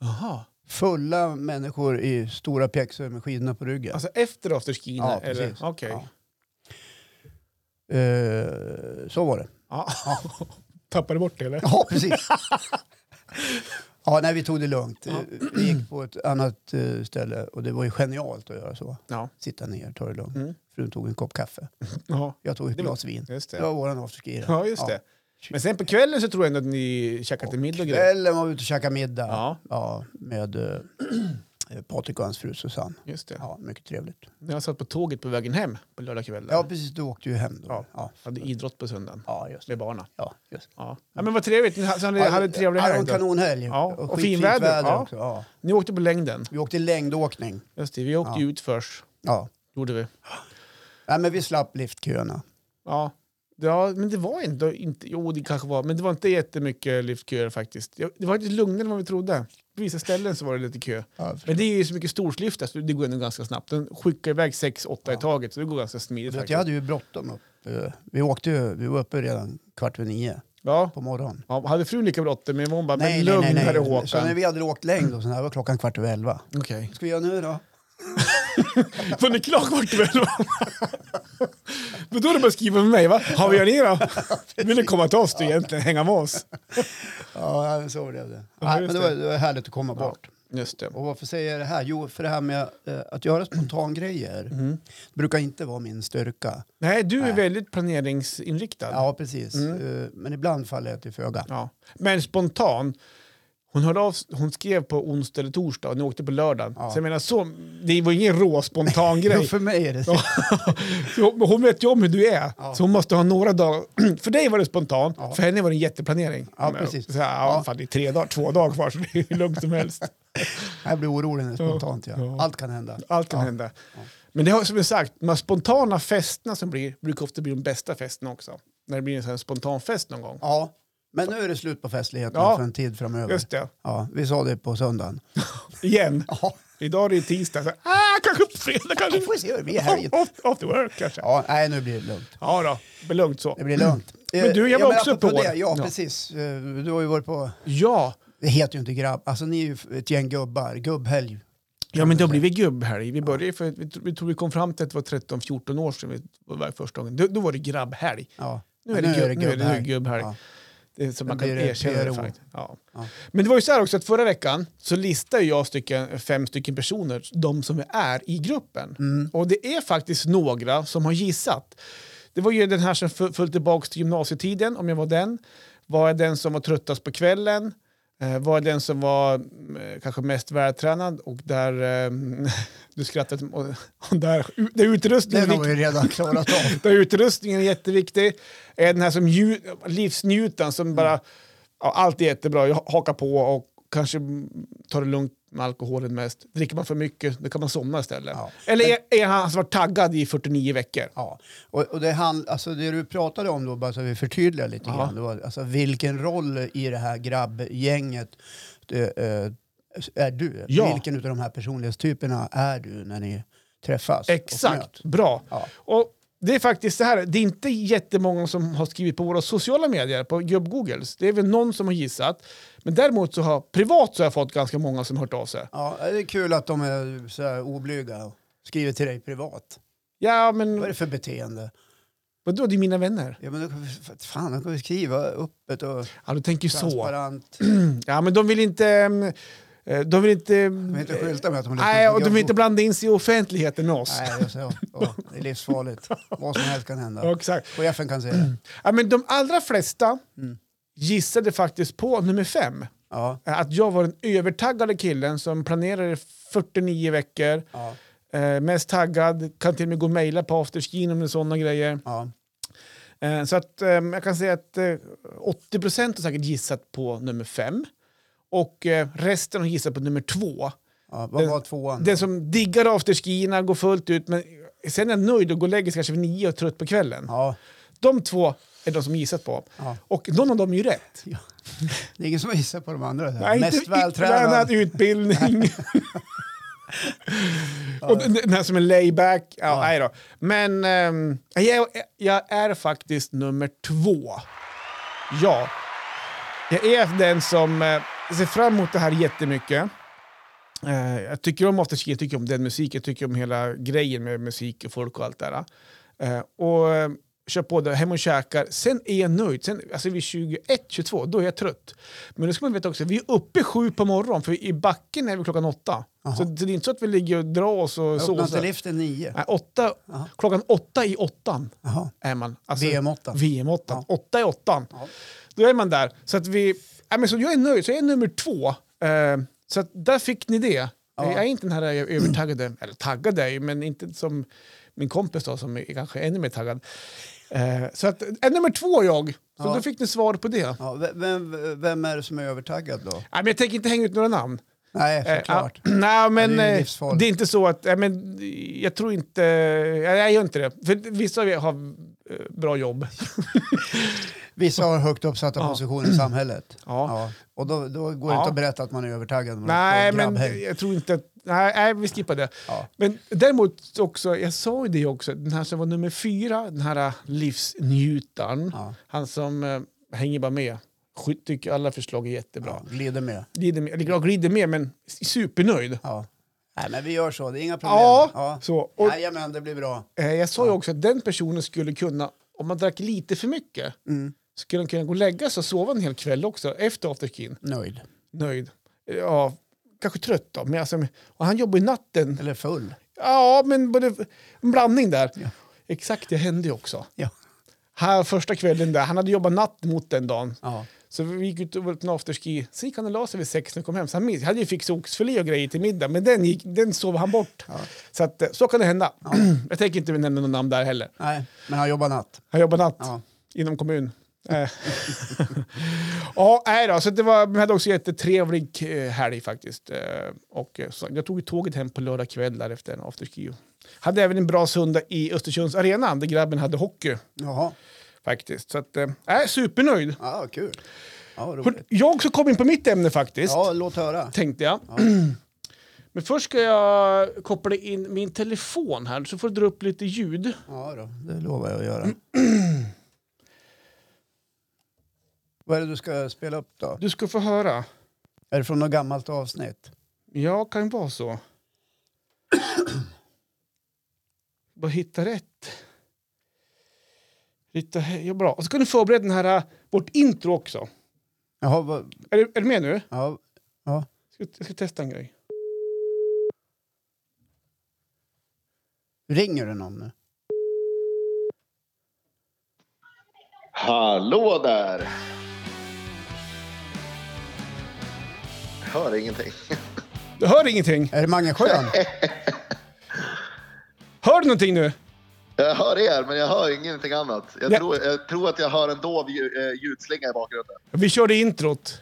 Speaker 2: Jaha.
Speaker 1: Fulla människor i stora pjäxor med skidorna på ryggen.
Speaker 2: Alltså efter afterskin?
Speaker 1: Ja,
Speaker 2: eller?
Speaker 1: precis.
Speaker 2: Okej.
Speaker 1: Ja. Eh, så var det.
Speaker 2: Ja. <laughs> Tappade bort det, eller?
Speaker 1: Ja, precis. <laughs> ja, nej, vi tog det lugnt. Eh, Vi gick på ett annat eh, ställe och det var ju genialt att göra så.
Speaker 2: Ja.
Speaker 1: Sitta ner, ta det lugnt.
Speaker 2: Mm.
Speaker 1: Frun tog en kopp kaffe.
Speaker 2: ja.
Speaker 1: Jag tog ett
Speaker 2: Det var-
Speaker 1: glas vin.
Speaker 2: Just
Speaker 1: Det
Speaker 2: det.
Speaker 1: var våran afterski. då.
Speaker 2: Ja, just det. Men sen på kvällen så tror jag ändå att ni käkade till middag och grejer.
Speaker 1: Kvällen var vi ute och käkade middag.
Speaker 2: Ja,
Speaker 1: Ja, med eh, eh, <clears throat> Patrik och hans fru Susanne.
Speaker 2: just det.
Speaker 1: Ja, mycket trevligt.
Speaker 2: När jag satt på tåget på vägen hem på lördagskvällen.
Speaker 1: Ja, precis. Du åkte ju hem då.
Speaker 2: Ja.
Speaker 1: ja.
Speaker 2: Hade idrott på söndagen
Speaker 1: Ja, just det.
Speaker 2: med barna.
Speaker 1: Ja, just det.
Speaker 2: Ja. ja men vad trevligt. Ni ha- så ni hade en trevlig
Speaker 1: Ja, det var
Speaker 2: helg.
Speaker 1: en
Speaker 2: då.
Speaker 1: kanonhelg.
Speaker 2: Ja, och
Speaker 1: skitfint
Speaker 2: finväder. Ja.
Speaker 1: också. Ja.
Speaker 2: Ni åkte på längden.
Speaker 1: Vi åkte längdåkning.
Speaker 2: Just det, vi åkte
Speaker 1: Ja.
Speaker 2: ju ut först.
Speaker 1: Ja.
Speaker 2: Gjorde vi.
Speaker 1: Nej, men vi slapp liftköerna.
Speaker 2: Ja. ja, men det var ändå inte... Jo, det kanske var. Men det var inte jättemycket lyftköer faktiskt. Det det var lite lugnare än vad vi trodde. På vissa ställen så var det lite kö.
Speaker 1: Ja,
Speaker 2: Men det är ju så mycket storslyftar så det går ändå ganska snabbt. Den skickar iväg sex, åtta i
Speaker 1: Ja.
Speaker 2: taget så det går ganska smidigt
Speaker 1: Vet,
Speaker 2: faktiskt.
Speaker 1: jag hade ju bråttom upp. Eh, Vi, åkte ju, vi var uppe redan kvart över nio
Speaker 2: Ja.
Speaker 1: på morgonen.
Speaker 2: ja, hade frun lika bråttom? Men hon bara, men lugnare
Speaker 1: Så när
Speaker 2: Håkan.
Speaker 1: vi hade åkt längd och sån här var klockan kvart över elva.
Speaker 2: Okej.
Speaker 1: Vad ska vi göra nu då?
Speaker 2: Var ni klara kvart över elva? Men då är det bara att skriva med mig va? Har vi gör
Speaker 1: <laughs>
Speaker 2: ni då? Vill ni komma till oss då egentligen? Hänga med oss?
Speaker 1: Ja, men så blev det.
Speaker 2: Ja,
Speaker 1: Nej,
Speaker 2: just
Speaker 1: men det,
Speaker 2: det.
Speaker 1: var, det var härligt att komma bort.
Speaker 2: Just det.
Speaker 1: Och varför säger jag det här? Jo, för det här med eh, att göra spontangrejer
Speaker 2: Mm.
Speaker 1: brukar inte vara min styrka.
Speaker 2: Nej, du är
Speaker 1: Nej.
Speaker 2: väldigt planeringsinriktad.
Speaker 1: Ja, precis.
Speaker 2: Mm.
Speaker 1: Eh, men ibland faller jag till föga.
Speaker 2: Ja. Men spontan, hon, hörde av, hon skrev på onsdag eller torsdag och ni åkte på lördagen.
Speaker 1: Ja.
Speaker 2: Så jag menar, så, det var ingen
Speaker 1: <laughs>
Speaker 2: rå spontan
Speaker 1: Ja,
Speaker 2: <laughs> grej.
Speaker 1: för mig är det så.
Speaker 2: Ja. Jo, men hon vet ju om hur du är,
Speaker 1: Ja.
Speaker 2: så hon måste ha några dagar. <clears throat> För dig var det spontan,
Speaker 1: Ja.
Speaker 2: för henne var det en jätteplanering.
Speaker 1: Ja, precis.
Speaker 2: Så här, ja,
Speaker 1: Ja.
Speaker 2: Fan, det är tre dagar, två dagar kvar, så det är hur lugnt som helst.
Speaker 1: Jag blir orolig när det är spontant. Ja.
Speaker 2: Ja.
Speaker 1: Allt kan hända.
Speaker 2: Allt kan
Speaker 1: Ja.
Speaker 2: hända. Men det har som jag sagt, de här spontana festerna som blir, brukar ofta bli de bästa festerna också. När det blir en sån här spontan fest någon gång.
Speaker 1: Ja, men nu är det slut på festligheterna
Speaker 2: Ja.
Speaker 1: för en tid framöver.
Speaker 2: Just det,
Speaker 1: Ja, vi sa det på söndagen.
Speaker 2: igen.
Speaker 1: Ja,
Speaker 2: Idag är det tisdag, så, ah, kanske på fredag, kanske
Speaker 1: vi får se hur det blir i helgen.
Speaker 2: Off, off the work kanske. Ja,
Speaker 1: Ja, nej, nu blir det lugnt.
Speaker 2: då, men lugnt så.
Speaker 1: Det blir lugnt.
Speaker 2: Men du, jag
Speaker 1: Eh,
Speaker 2: var också
Speaker 1: apropå
Speaker 2: på
Speaker 1: det,
Speaker 2: det.
Speaker 1: Ja,
Speaker 2: Ja.
Speaker 1: precis. Eh, Du har ju varit på...
Speaker 2: Ja,
Speaker 1: Det heter ju inte grabb. Alltså ni är ju ett gäng gubbar. Gubbhelg.
Speaker 2: ja men det har blivit gubbhelg. Vi började ju för vi, tro- vi tror vi kom fram till att det var 13-14 år sedan vi var iväg första gången. Då, då var det grabbhelg.
Speaker 1: Ja.
Speaker 2: Nu är det, gubb, nu är det nu gubbhelg.
Speaker 1: Ja.
Speaker 2: Det är så man
Speaker 1: Nu
Speaker 2: kan
Speaker 1: blir det
Speaker 2: erkänna det
Speaker 1: PRO.
Speaker 2: faktiskt. Ja.
Speaker 1: Ja.
Speaker 2: Men det var ju så här också att förra veckan så listade jag stycken, fem stycken personer, de som är i gruppen. Och det är faktiskt några som har gissat. Det var ju den här som fö- föll tillbaka till gymnasietiden, om jag var den. Var jag den som var tröttast på kvällen? Eh, Var jag den som var mm, eh, kanske mest vältränad? Och där... Eh, <laughs> du skrattade. Och, och där, där utrustningen
Speaker 1: Den
Speaker 2: gick
Speaker 1: har vi ju redan klarat av.
Speaker 2: där utrustningen är jätteviktig. Är den här som ju, livsnjutan som
Speaker 1: Mm.
Speaker 2: bara, ja, allt är jättebra, jag hakar på och kanske mm, tar det lugnt med alkoholen mest. Dricker man för mycket, då kan man somna istället.
Speaker 1: Ja.
Speaker 2: Eller är, är han som varit taggad i 49 veckor?
Speaker 1: Ja. Och, och det, han, alltså det du pratade om då, bara så vi förtydligar lite
Speaker 2: Ja.
Speaker 1: grann. Det var, alltså, vilken roll i det här grabbgänget det, eh, är du?
Speaker 2: Ja.
Speaker 1: Vilken av de här personlighetstyperna är du när ni träffas? och möts?
Speaker 2: Exakt, bra.
Speaker 1: Ja.
Speaker 2: Och det är faktiskt så här, det är inte jättemånga som har skrivit på våra sociala medier, på gubb-googles. Det är väl någon som har gissat. Men däremot så har, privat så har jag fått ganska många som har hört av sig.
Speaker 1: ja, det är kul att de är så här oblyga och skriver till dig privat.
Speaker 2: Ja,
Speaker 1: Vad är
Speaker 2: men
Speaker 1: det för beteende?
Speaker 2: vadå, det är mina vänner.
Speaker 1: Ja, men då kan vi, för fan, de kan vi skriva öppet och
Speaker 2: Ja, du tänker ju så.
Speaker 1: transparent.
Speaker 2: Ja, men de vill inte... ehm, eh, De vill inte... eh,
Speaker 1: De vill inte skylta med att de lyssnar
Speaker 2: Nej,
Speaker 1: på
Speaker 2: och de vill
Speaker 1: Gubb-
Speaker 2: inte blanda in sig i offentligheten med oss.
Speaker 1: Nej, det är, så. Ja, det är
Speaker 2: <laughs>
Speaker 1: livsfarligt. Vad som helst kan hända.
Speaker 2: Ja, Exakt.
Speaker 1: Chefen kan säga det.
Speaker 2: Ja, men de allra flesta
Speaker 1: Mm.
Speaker 2: gissade faktiskt på nummer fem.
Speaker 1: Ja,
Speaker 2: Eh, Att jag var den övertaggade killen som planerade 49 veckor,
Speaker 1: ja,
Speaker 2: eh, mest taggad, kan till och med gå och mejla på afterskin om det är sådana grejer.
Speaker 1: ja.
Speaker 2: Eh, så att, eh, jag kan säga att eh, 80 procent har säkert gissat på nummer fem. Och eh, resten har gissat på nummer två.
Speaker 1: Ja, vad
Speaker 2: Den-
Speaker 1: var tvåan?
Speaker 2: Den som diggar afterskierna, går fullt ut, men sen är nöjd och går och lägger sig kanske vid nio och trött på kvällen.
Speaker 1: Ja,
Speaker 2: De två är de som gissat på.
Speaker 1: ja.
Speaker 2: Och någon av dem är ju rätt.
Speaker 1: Det är ingen som gissar på de andra. så här.
Speaker 2: Nej,
Speaker 1: Mest
Speaker 2: inte vältränad
Speaker 1: vältränad. <laughs>
Speaker 2: utbildning. <laughs> och den, den här som är layback. Ja,
Speaker 1: Ja.
Speaker 2: Nej då. Men ehm, jag, jag är faktiskt nummer två. Ja. Jag är den som eh, ser fram emot det här jättemycket. Eh, jag tycker om afterski, jag tycker om den musiken, jag tycker om hela grejen med musik och folk och allt det där. Eh, och eh, kör på det, hem och käkar. Sen är jag nöjd. Sen, alltså vid 21-22, då är jag trött. Men då ska man veta också, vi är uppe sju på morgonen, för i backen är vi klockan åtta.
Speaker 1: Jaha.
Speaker 2: Så, så det är inte så att vi ligger och drar oss och
Speaker 1: Öppnade inte
Speaker 2: såsar.
Speaker 1: liften nio?
Speaker 2: Nej, åtta,
Speaker 1: Jaha.
Speaker 2: klockan åtta i åttan
Speaker 1: Jaha.
Speaker 2: är man. Alltså,
Speaker 1: VM-åttan.
Speaker 2: VM8.
Speaker 1: Ja.
Speaker 2: Åtta i åttan.
Speaker 1: Ja.
Speaker 2: Då är man där. Så att vi... Nej, men så jag är nöjd, så jag är nummer två. Eh, så att där fick ni det. Jag är inte den här övertaggade, eller taggad är jag ju, men inte som min kompis då som är kanske ännu mer taggad. Eh, så att är nummer två jag. Så
Speaker 1: Ja.
Speaker 2: då fick ni svar på det. Nej,
Speaker 1: Ja, v- vem, vem är det som är övertaggad då?
Speaker 2: men jag tänker inte hänga ut några namn.
Speaker 1: Nej,
Speaker 2: Eh,
Speaker 1: såklart.
Speaker 2: ja, <clears throat> nej, men
Speaker 1: det är ju
Speaker 2: eh,
Speaker 1: livsfarligt.
Speaker 2: det är inte så att... ja, men, jag tror inte... Jag, jag gör inte det. För vissa av er har eh, bra jobb.
Speaker 1: Vissa har högt uppsatta
Speaker 2: Ja.
Speaker 1: positioner i samhället.
Speaker 2: Ja.
Speaker 1: Ja. Och då, då går det
Speaker 2: Ja.
Speaker 1: inte att berätta att man är övertaggad. när man
Speaker 2: Nej,
Speaker 1: får
Speaker 2: men
Speaker 1: grabbhäng.
Speaker 2: jag tror inte att... Nej, nej, vi skippar det.
Speaker 1: Ja.
Speaker 2: Men däremot också, jag sa ju det också, den här som var nummer fyra, den här äh, livsnjutaren,
Speaker 1: Ja.
Speaker 2: han som eh, hänger bara med, Sky- tycker alla förslag är jättebra.
Speaker 1: Ja, glider med.
Speaker 2: Glider med, eller jag glider med, men supernöjd.
Speaker 1: Ja. Nej, men vi gör så. Det är inga problem.
Speaker 2: Ja,
Speaker 1: Ja.
Speaker 2: så. Och,
Speaker 1: Nej, men det blir bra.
Speaker 2: eh, jag sa ju också att den personen skulle kunna, om man drack lite för mycket,
Speaker 1: Mm.
Speaker 2: skulle han kunna gå och lägga sig och sova en hel kväll också, efter afterskin.
Speaker 1: Nöjd.
Speaker 2: Nöjd. Ja, kanske trött då, men alltså, och han jobbar i natten.
Speaker 1: Eller full.
Speaker 2: Ja, men både en blandning där.
Speaker 1: Ja.
Speaker 2: Exakt, det hände ju också.
Speaker 1: Ja.
Speaker 2: Här första kvällen där, han hade jobbat natt mot den dagen.
Speaker 1: Ja.
Speaker 2: Så vi gick ut och var på en afterski. Sen gick han och la sig vid sex när vi kom hem. Så han miss- hade ju fixat oxfilé och grejer till middag, men den, gick, den sov han bort.
Speaker 1: Ja.
Speaker 2: Så, att, eh, så kan det hända. <clears throat> Jag tänker inte nämna något namn där heller.
Speaker 1: Nej, men han jobbar natt.
Speaker 2: Han jobbar natt
Speaker 1: Ja.
Speaker 2: inom
Speaker 1: <laughs>
Speaker 2: kommun. Eh. ja, nej då. Så det var, vi hade också jättetrevlig eh, helg faktiskt. Eh, Och eh, så jag tog ju tåget hem på lördag kväll där efter en afterski. Hade även en bra söndag i Östersunds arena där grabben hade hockey
Speaker 1: Jaha.
Speaker 2: faktiskt. Så att, eh, nej, supernöjd.
Speaker 1: Ja, kul. Ja, vad
Speaker 2: Hör-
Speaker 1: roligt.
Speaker 2: Jag också kom in på mitt ämne faktiskt,
Speaker 1: Ja, låt höra.
Speaker 2: tänkte jag.
Speaker 1: Ja.
Speaker 2: <clears throat> Men först ska jag koppla in min telefon här så får du dra upp lite ljud.
Speaker 1: Ja, då. det lovar jag att
Speaker 3: <clears throat>
Speaker 1: göra. Vad är det du ska spela upp då?
Speaker 2: Du ska få höra.
Speaker 1: Är det från något gammalt avsnitt?
Speaker 2: Ja, kan ju vara så. <clears throat> Bara hitta rätt. Hitta, ja, bra. Och så kan du förbereda den här, äh, vårt intro också.
Speaker 1: Jaha, vad,
Speaker 2: Är du, är du med nu?
Speaker 1: ja,
Speaker 2: Jag ska, jag ska testa en grej.
Speaker 1: ringer det någon nu?
Speaker 3: Hallå där! Jag hör ingenting. <laughs>
Speaker 2: Du hör ingenting.
Speaker 1: Är det Mange Sjön?
Speaker 2: Hör du någonting nu?
Speaker 3: Jag hör er, men jag hör ingenting annat. Jag,
Speaker 2: Ja.
Speaker 3: tror, jag tror att jag hör en dov lju- eh, ljudslinga i bakgrunden. <laughs>
Speaker 2: Vi körde introt.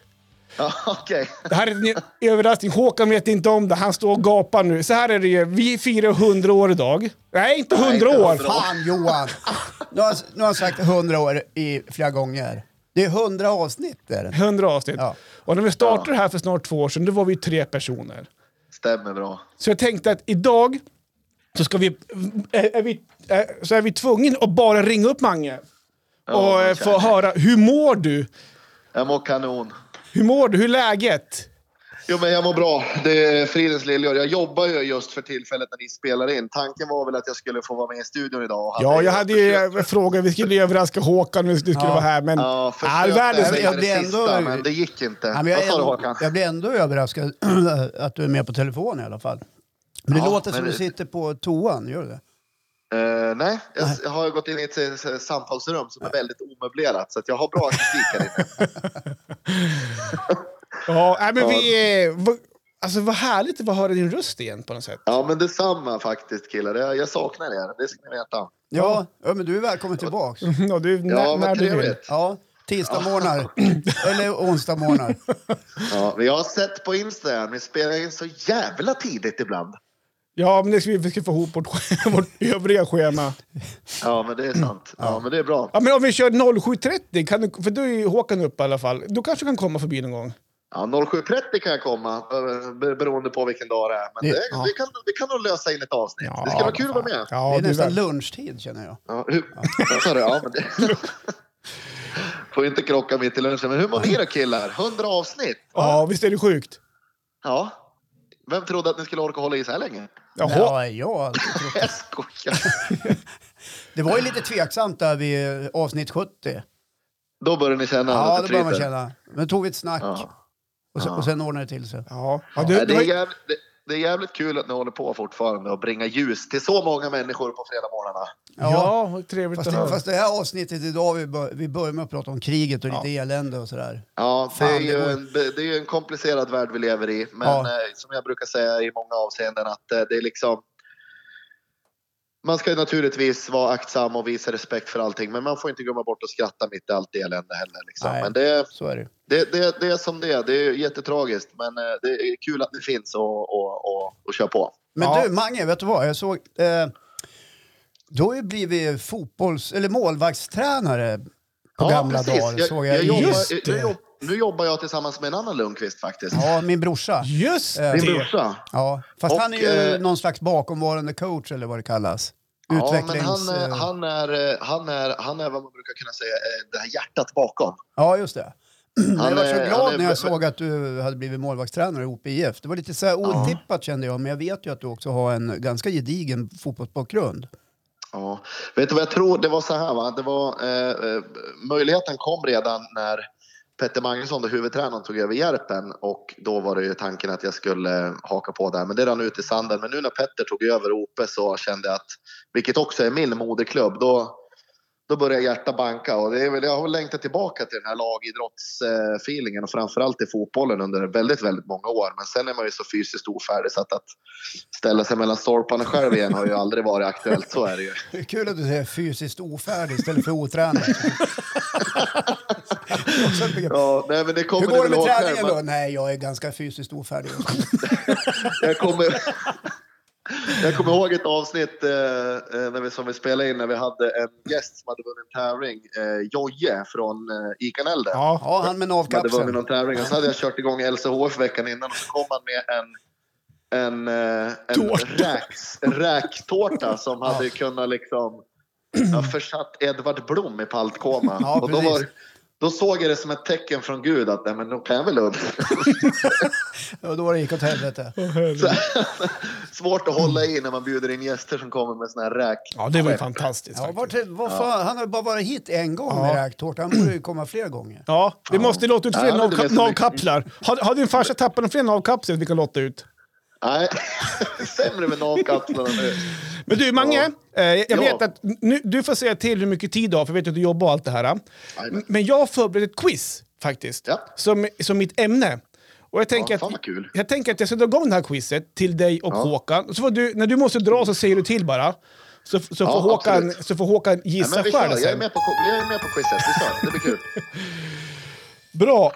Speaker 3: Ja, Okej.
Speaker 2: Det här är en <laughs> överraskning. Håkan vet inte om det. Han står och gapar nu. Så här är det ju. Vi firar 100 år idag. Nej, inte
Speaker 3: Nej,
Speaker 2: 100
Speaker 3: inte
Speaker 2: år.
Speaker 3: 100 år.
Speaker 1: Fan Johan! Nu har, nu har han sagt 100 år i flera gånger. Det är 100 avsnitt är det.
Speaker 2: 100 avsnitt.
Speaker 1: Ja.
Speaker 2: Och när vi startade det här för snart två år sedan, då var vi tre personer.
Speaker 3: Stämmer bra.
Speaker 2: Så jag tänkte att idag så, ska vi, är, är vi, är, så är vi tvungna att bara ringa upp Mange
Speaker 3: Ja,
Speaker 2: och
Speaker 3: men
Speaker 2: eh,
Speaker 3: kär.
Speaker 2: få höra hur mår du?
Speaker 3: Jag mår kanon.
Speaker 2: Hur mår du? Hur är läget?
Speaker 3: Jo, men jag mår bra. Det är fridens lillgör. Jag jobbar ju just för tillfället när ni spelar in. Tanken var väl att jag skulle få vara med i studion idag. och
Speaker 2: Ja, jag hade ju en fråga. Vi skulle ju överraska Håkan om du skulle
Speaker 1: Ja.
Speaker 2: vara här, men...
Speaker 3: Ja,
Speaker 2: Ja,
Speaker 3: försökte
Speaker 2: världens-
Speaker 3: även
Speaker 1: Jag
Speaker 3: i
Speaker 1: blir
Speaker 3: det sista,
Speaker 1: ändå-
Speaker 3: men det gick inte.
Speaker 1: Nej, men
Speaker 3: Vad
Speaker 1: jag, är
Speaker 3: sa du,
Speaker 1: ändå,
Speaker 3: Håkan?
Speaker 1: jag blir ändå överraskad <clears throat> att du är med på telefon i alla fall. Men det
Speaker 3: Ja,
Speaker 1: låter som
Speaker 3: men
Speaker 1: du
Speaker 3: det-
Speaker 1: sitter på toan, gör du det?
Speaker 3: Eh, nej, jag s- har gått in i ett eh, samtalsrum som är väldigt omöblerat så att jag har bra akustik här <laughs> inne.
Speaker 2: Ja, nej, men
Speaker 3: Ja.
Speaker 2: vi... eh, vad- Alltså vad härligt att få höra din röst igen på något sätt.
Speaker 3: Ja, men detsamma faktiskt killar. Jag, jag saknar er, det ska ni veta.
Speaker 1: Ja, ja men du är välkommen tillbaks.
Speaker 2: <laughs> Ja, du, när,
Speaker 3: Ja,
Speaker 2: när
Speaker 3: vad
Speaker 2: du vill.
Speaker 3: trevligt.
Speaker 1: Ja, Tisdagsmorgnar. Eller onsdagsmorgnar.
Speaker 3: Ja, men jag har sett på Instagram, ni spelar in så jävla tidigt ibland.
Speaker 2: Ja, men det ska vi, vi ska få ihop vårt, sch- <laughs> vårt övriga schema.
Speaker 3: Ja, men det är sant. Mm. Ja, men det är bra.
Speaker 2: Ja, men om vi kör 07.30, kan du, för då är ju Håkan uppe i alla fall. Du kanske kan komma förbi någon gång.
Speaker 3: Ja, 07.30 kan jag komma, eh, be- beroende på vilken dag det är. Men det,
Speaker 2: Ja.
Speaker 3: vi, kan, vi kan nog lösa in ett avsnitt. det ska vara kul att vara med.
Speaker 2: Ja,
Speaker 1: det är
Speaker 2: du
Speaker 1: nästan
Speaker 2: väl-
Speaker 1: lunchtid känner jag.
Speaker 3: Ja, hur, vad sa du? Ja, men det, får inte krocka mitt i lunchen. Men hur mår ni då killar? 100 avsnitt?
Speaker 2: ja, visst är det sjukt?
Speaker 3: Ja. Vem trodde att ni skulle orka hålla i så här länge? <laughs>
Speaker 2: Jaha.
Speaker 1: Ja, ja.
Speaker 3: Jag skojar.
Speaker 1: Det var ju lite tveksamt där vid eh, avsnitt 70.
Speaker 3: Då börjar ni känna
Speaker 1: Ja,
Speaker 3: lite
Speaker 1: det började man
Speaker 3: trivsel.
Speaker 1: känna. Men tog vi ett snack.
Speaker 3: Ja.
Speaker 1: Och, sen, och sen ordnade det till sig.
Speaker 2: Ja. Ja, du, du
Speaker 3: Nej, Det, är
Speaker 2: har-
Speaker 3: jävligt, det, det är jävligt kul att ni håller på fortfarande och bringar ljus till så många människor på fredagsmorgnarna.
Speaker 2: ja, vad trevligt
Speaker 1: Fast
Speaker 2: att
Speaker 1: det,
Speaker 2: höra.
Speaker 1: fast det här avsnittet idag, vi, bör, vi börjar med att prata om kriget och lite elände och sådär.
Speaker 3: Ja,
Speaker 1: Fan,
Speaker 3: det, är
Speaker 1: det
Speaker 3: ju
Speaker 1: går-
Speaker 3: en, det, det är ju en komplicerad värld vi lever i. Men
Speaker 1: Ja.
Speaker 3: eh, som jag brukar säga i många avseenden att eh, det är liksom... Man ska ju naturligtvis vara aktsam och visa respekt för allting. Men man får inte glömma bort att skratta mitt i allt elände heller. Liksom.
Speaker 1: Nej.
Speaker 3: Men det,
Speaker 1: Så är det.
Speaker 3: det, det, det är som det är. Det är jättetragiskt. Men eh, det är kul att det finns och, och, och, och kör på.
Speaker 1: Men
Speaker 2: Ja.
Speaker 1: du, Mange, vet du vad? Jag såg... Eh, du har ju blivit fotbolls... Eller målvaktstränare på gamla dagar. såg jag.
Speaker 3: jag, jobbar,
Speaker 2: Just
Speaker 3: jag,
Speaker 2: det.
Speaker 3: jag, jobb- nu jobbar jag tillsammans med en annan Lundqvist faktiskt.
Speaker 1: Ja, min brorsa.
Speaker 2: Just
Speaker 1: Eh,
Speaker 3: Din
Speaker 2: det!
Speaker 3: brorsa.
Speaker 1: Ja, fast
Speaker 3: Och,
Speaker 1: han är ju
Speaker 3: eh,
Speaker 1: någon slags bakomvarande coach eller vad det kallas.
Speaker 3: Ja, men
Speaker 1: Utvecklings...
Speaker 3: han, eh,
Speaker 1: eh,
Speaker 3: han, är, eh, han, är, han är vad man brukar kunna säga eh, det här hjärtat bakom.
Speaker 1: Ja, just det. <clears throat> Men jag var så
Speaker 3: är-
Speaker 1: glad
Speaker 3: han är-
Speaker 1: när jag såg att du hade blivit målvaktstränare i OPIF. Det var lite så här otippat kände jag, men jag vet ju att du också har en ganska gedigen fotbollsbakgrund.
Speaker 3: Ja. Vet du vad jag tror? Det var så här va? Det var, eh, eh, möjligheten kom redan när Petter Magnusson, då huvudtränaren, tog över Järpen och då var det ju tanken att jag skulle haka på där. Men det rann ut i sanden. Men nu när Petter tog över Ope så kände jag att, vilket också är min moderklubb, då, då började hjärtat banka. Och det är väl, jag har väl längtat tillbaka till den här lagidrottsfeelingen och framförallt i fotbollen under väldigt, väldigt många år. Men sen är man ju så fysiskt ofärdig så att, att ställa sig mellan stolparna själv igen har ju aldrig varit aktuellt. Så är det ju.
Speaker 1: Det är kul att du säger fysiskt ofärdig istället för otränad. Också ett begrepp.
Speaker 3: Ja, nej, men det <laughs> kommer
Speaker 1: Hur går
Speaker 3: ni
Speaker 1: det
Speaker 3: väl
Speaker 1: med
Speaker 3: ihåg
Speaker 1: träningen
Speaker 3: själva.
Speaker 1: då? Nej, jag är ganska fysiskt
Speaker 3: <laughs>
Speaker 1: ofärdig.
Speaker 3: Jag kommer, <laughs> jag kommer ihåg ett avsnitt eh, eh, när vi, som vi spelade in när vi hade en gäst som hade vunnit en tävling, eh, Jojje från eh, Ica Nälden.
Speaker 2: Ja,
Speaker 1: Ja, han med
Speaker 3: Som hade vunnit
Speaker 1: navkapseln.
Speaker 3: någon tävling och så hade jag kört igång LCHF veckan innan och så kom han med en en, eh, en,
Speaker 2: Tårta.
Speaker 3: räks, en räktårta som hade kunnat liksom ja, försatt Edvard Blom i paltkoma.
Speaker 1: Ja,
Speaker 3: och då,
Speaker 1: precis.
Speaker 3: var, då såg jag det som ett tecken från Gud att nej, men då kan jag väl upp.
Speaker 1: Och då det gick åt helvete.
Speaker 3: Så, svårt att hålla i när man bjuder in gäster som kommer med såna här räk.
Speaker 2: ja det var ju fantastiskt
Speaker 1: Ja,
Speaker 2: faktiskt.
Speaker 1: vart, vad fan, han har bara varit hit en gång med räktårta. Han borde ju komma fler gånger.
Speaker 2: Ja, vi måste låta ut
Speaker 3: Ja,
Speaker 2: fler
Speaker 3: men det är
Speaker 2: navka-
Speaker 3: så mycket.
Speaker 2: navkapslar. Har, har din farsa tappat några fler navkapslar vi kan låta ut?
Speaker 3: Nej, <laughs> sämre med navkapslarna nu.
Speaker 2: Men du Mange, eh, jag jag
Speaker 3: Ja.
Speaker 2: vet att nu, du får säga till hur mycket tid du har, för jag vet att du jobbar och allt det här.
Speaker 3: Jajamän.
Speaker 2: Men jag har förberett ett quiz faktiskt,
Speaker 3: Ja.
Speaker 2: som, som mitt ämne. Och jag tänker,
Speaker 3: Ja, fan
Speaker 2: att,
Speaker 3: vad kul.
Speaker 2: jag tänker att jag ska dra igång det här quizet till dig och Håkan. Så får du, när du måste dra så säger du till bara. Så, så, får, Håkan,
Speaker 3: absolut.
Speaker 2: så får Håkan
Speaker 3: Nej,
Speaker 2: gissa
Speaker 3: men vi kör.
Speaker 2: själv
Speaker 3: Jag är
Speaker 2: sen.
Speaker 3: med på, jag är med på quizet. Vi kör. Det blir kul.
Speaker 2: Bra,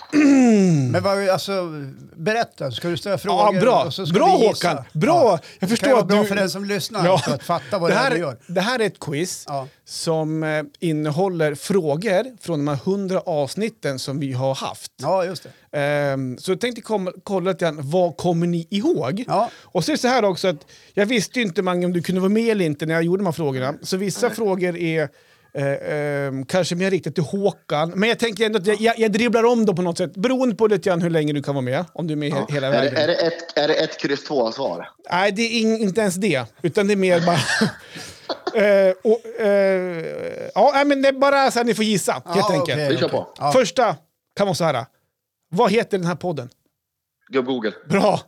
Speaker 1: Men vad, alltså, berätta, ska du ställa
Speaker 2: ja,
Speaker 1: frågor?
Speaker 2: bra.
Speaker 1: och så ska
Speaker 2: bra
Speaker 1: vi gissa?
Speaker 2: Håkan! Bra! Jag
Speaker 1: Det kan
Speaker 2: förstår
Speaker 1: ju vara
Speaker 2: att
Speaker 1: bra
Speaker 2: du...
Speaker 1: för den som lyssnar
Speaker 2: Ja.
Speaker 1: också, att fatta vad
Speaker 2: det,
Speaker 1: det är
Speaker 2: här,
Speaker 1: du gör.
Speaker 2: det här är ett quiz
Speaker 1: Ja.
Speaker 2: som eh, innehåller frågor från de här hundra avsnitten som vi har haft.
Speaker 1: Ja, just det.
Speaker 2: Ehm, så jag tänkte kom, kolla lite grann, vad kommer ni ihåg?
Speaker 1: Ja.
Speaker 2: Och så är det så här också att jag visste ju inte Mange om du kunde vara med eller inte när jag gjorde de här frågorna. Så vissa frågor är eh, ehm, kanske mer riktat till Håkan. Men jag tänker ändå att jag, jag, jag dribblar om dem på något sätt. Beroende på lite grann hur länge du kan vara med. Om du är med <laughs> he- hela
Speaker 3: Är,
Speaker 2: vägen.
Speaker 3: det- är, det ett, är det ett kryss två svar?
Speaker 2: Nej, det är ing- inte ens det. Utan det är mer bara... Eh, och, eh, ja, nej, men det är bara så här ni får gissa, helt
Speaker 1: Ja,
Speaker 2: enkelt.
Speaker 1: okej,
Speaker 3: Vi kör
Speaker 1: okej.
Speaker 3: på.
Speaker 1: Ja.
Speaker 2: Första kan vara så här. Vad heter den här podden?
Speaker 3: Gubb-Google.
Speaker 2: Bra!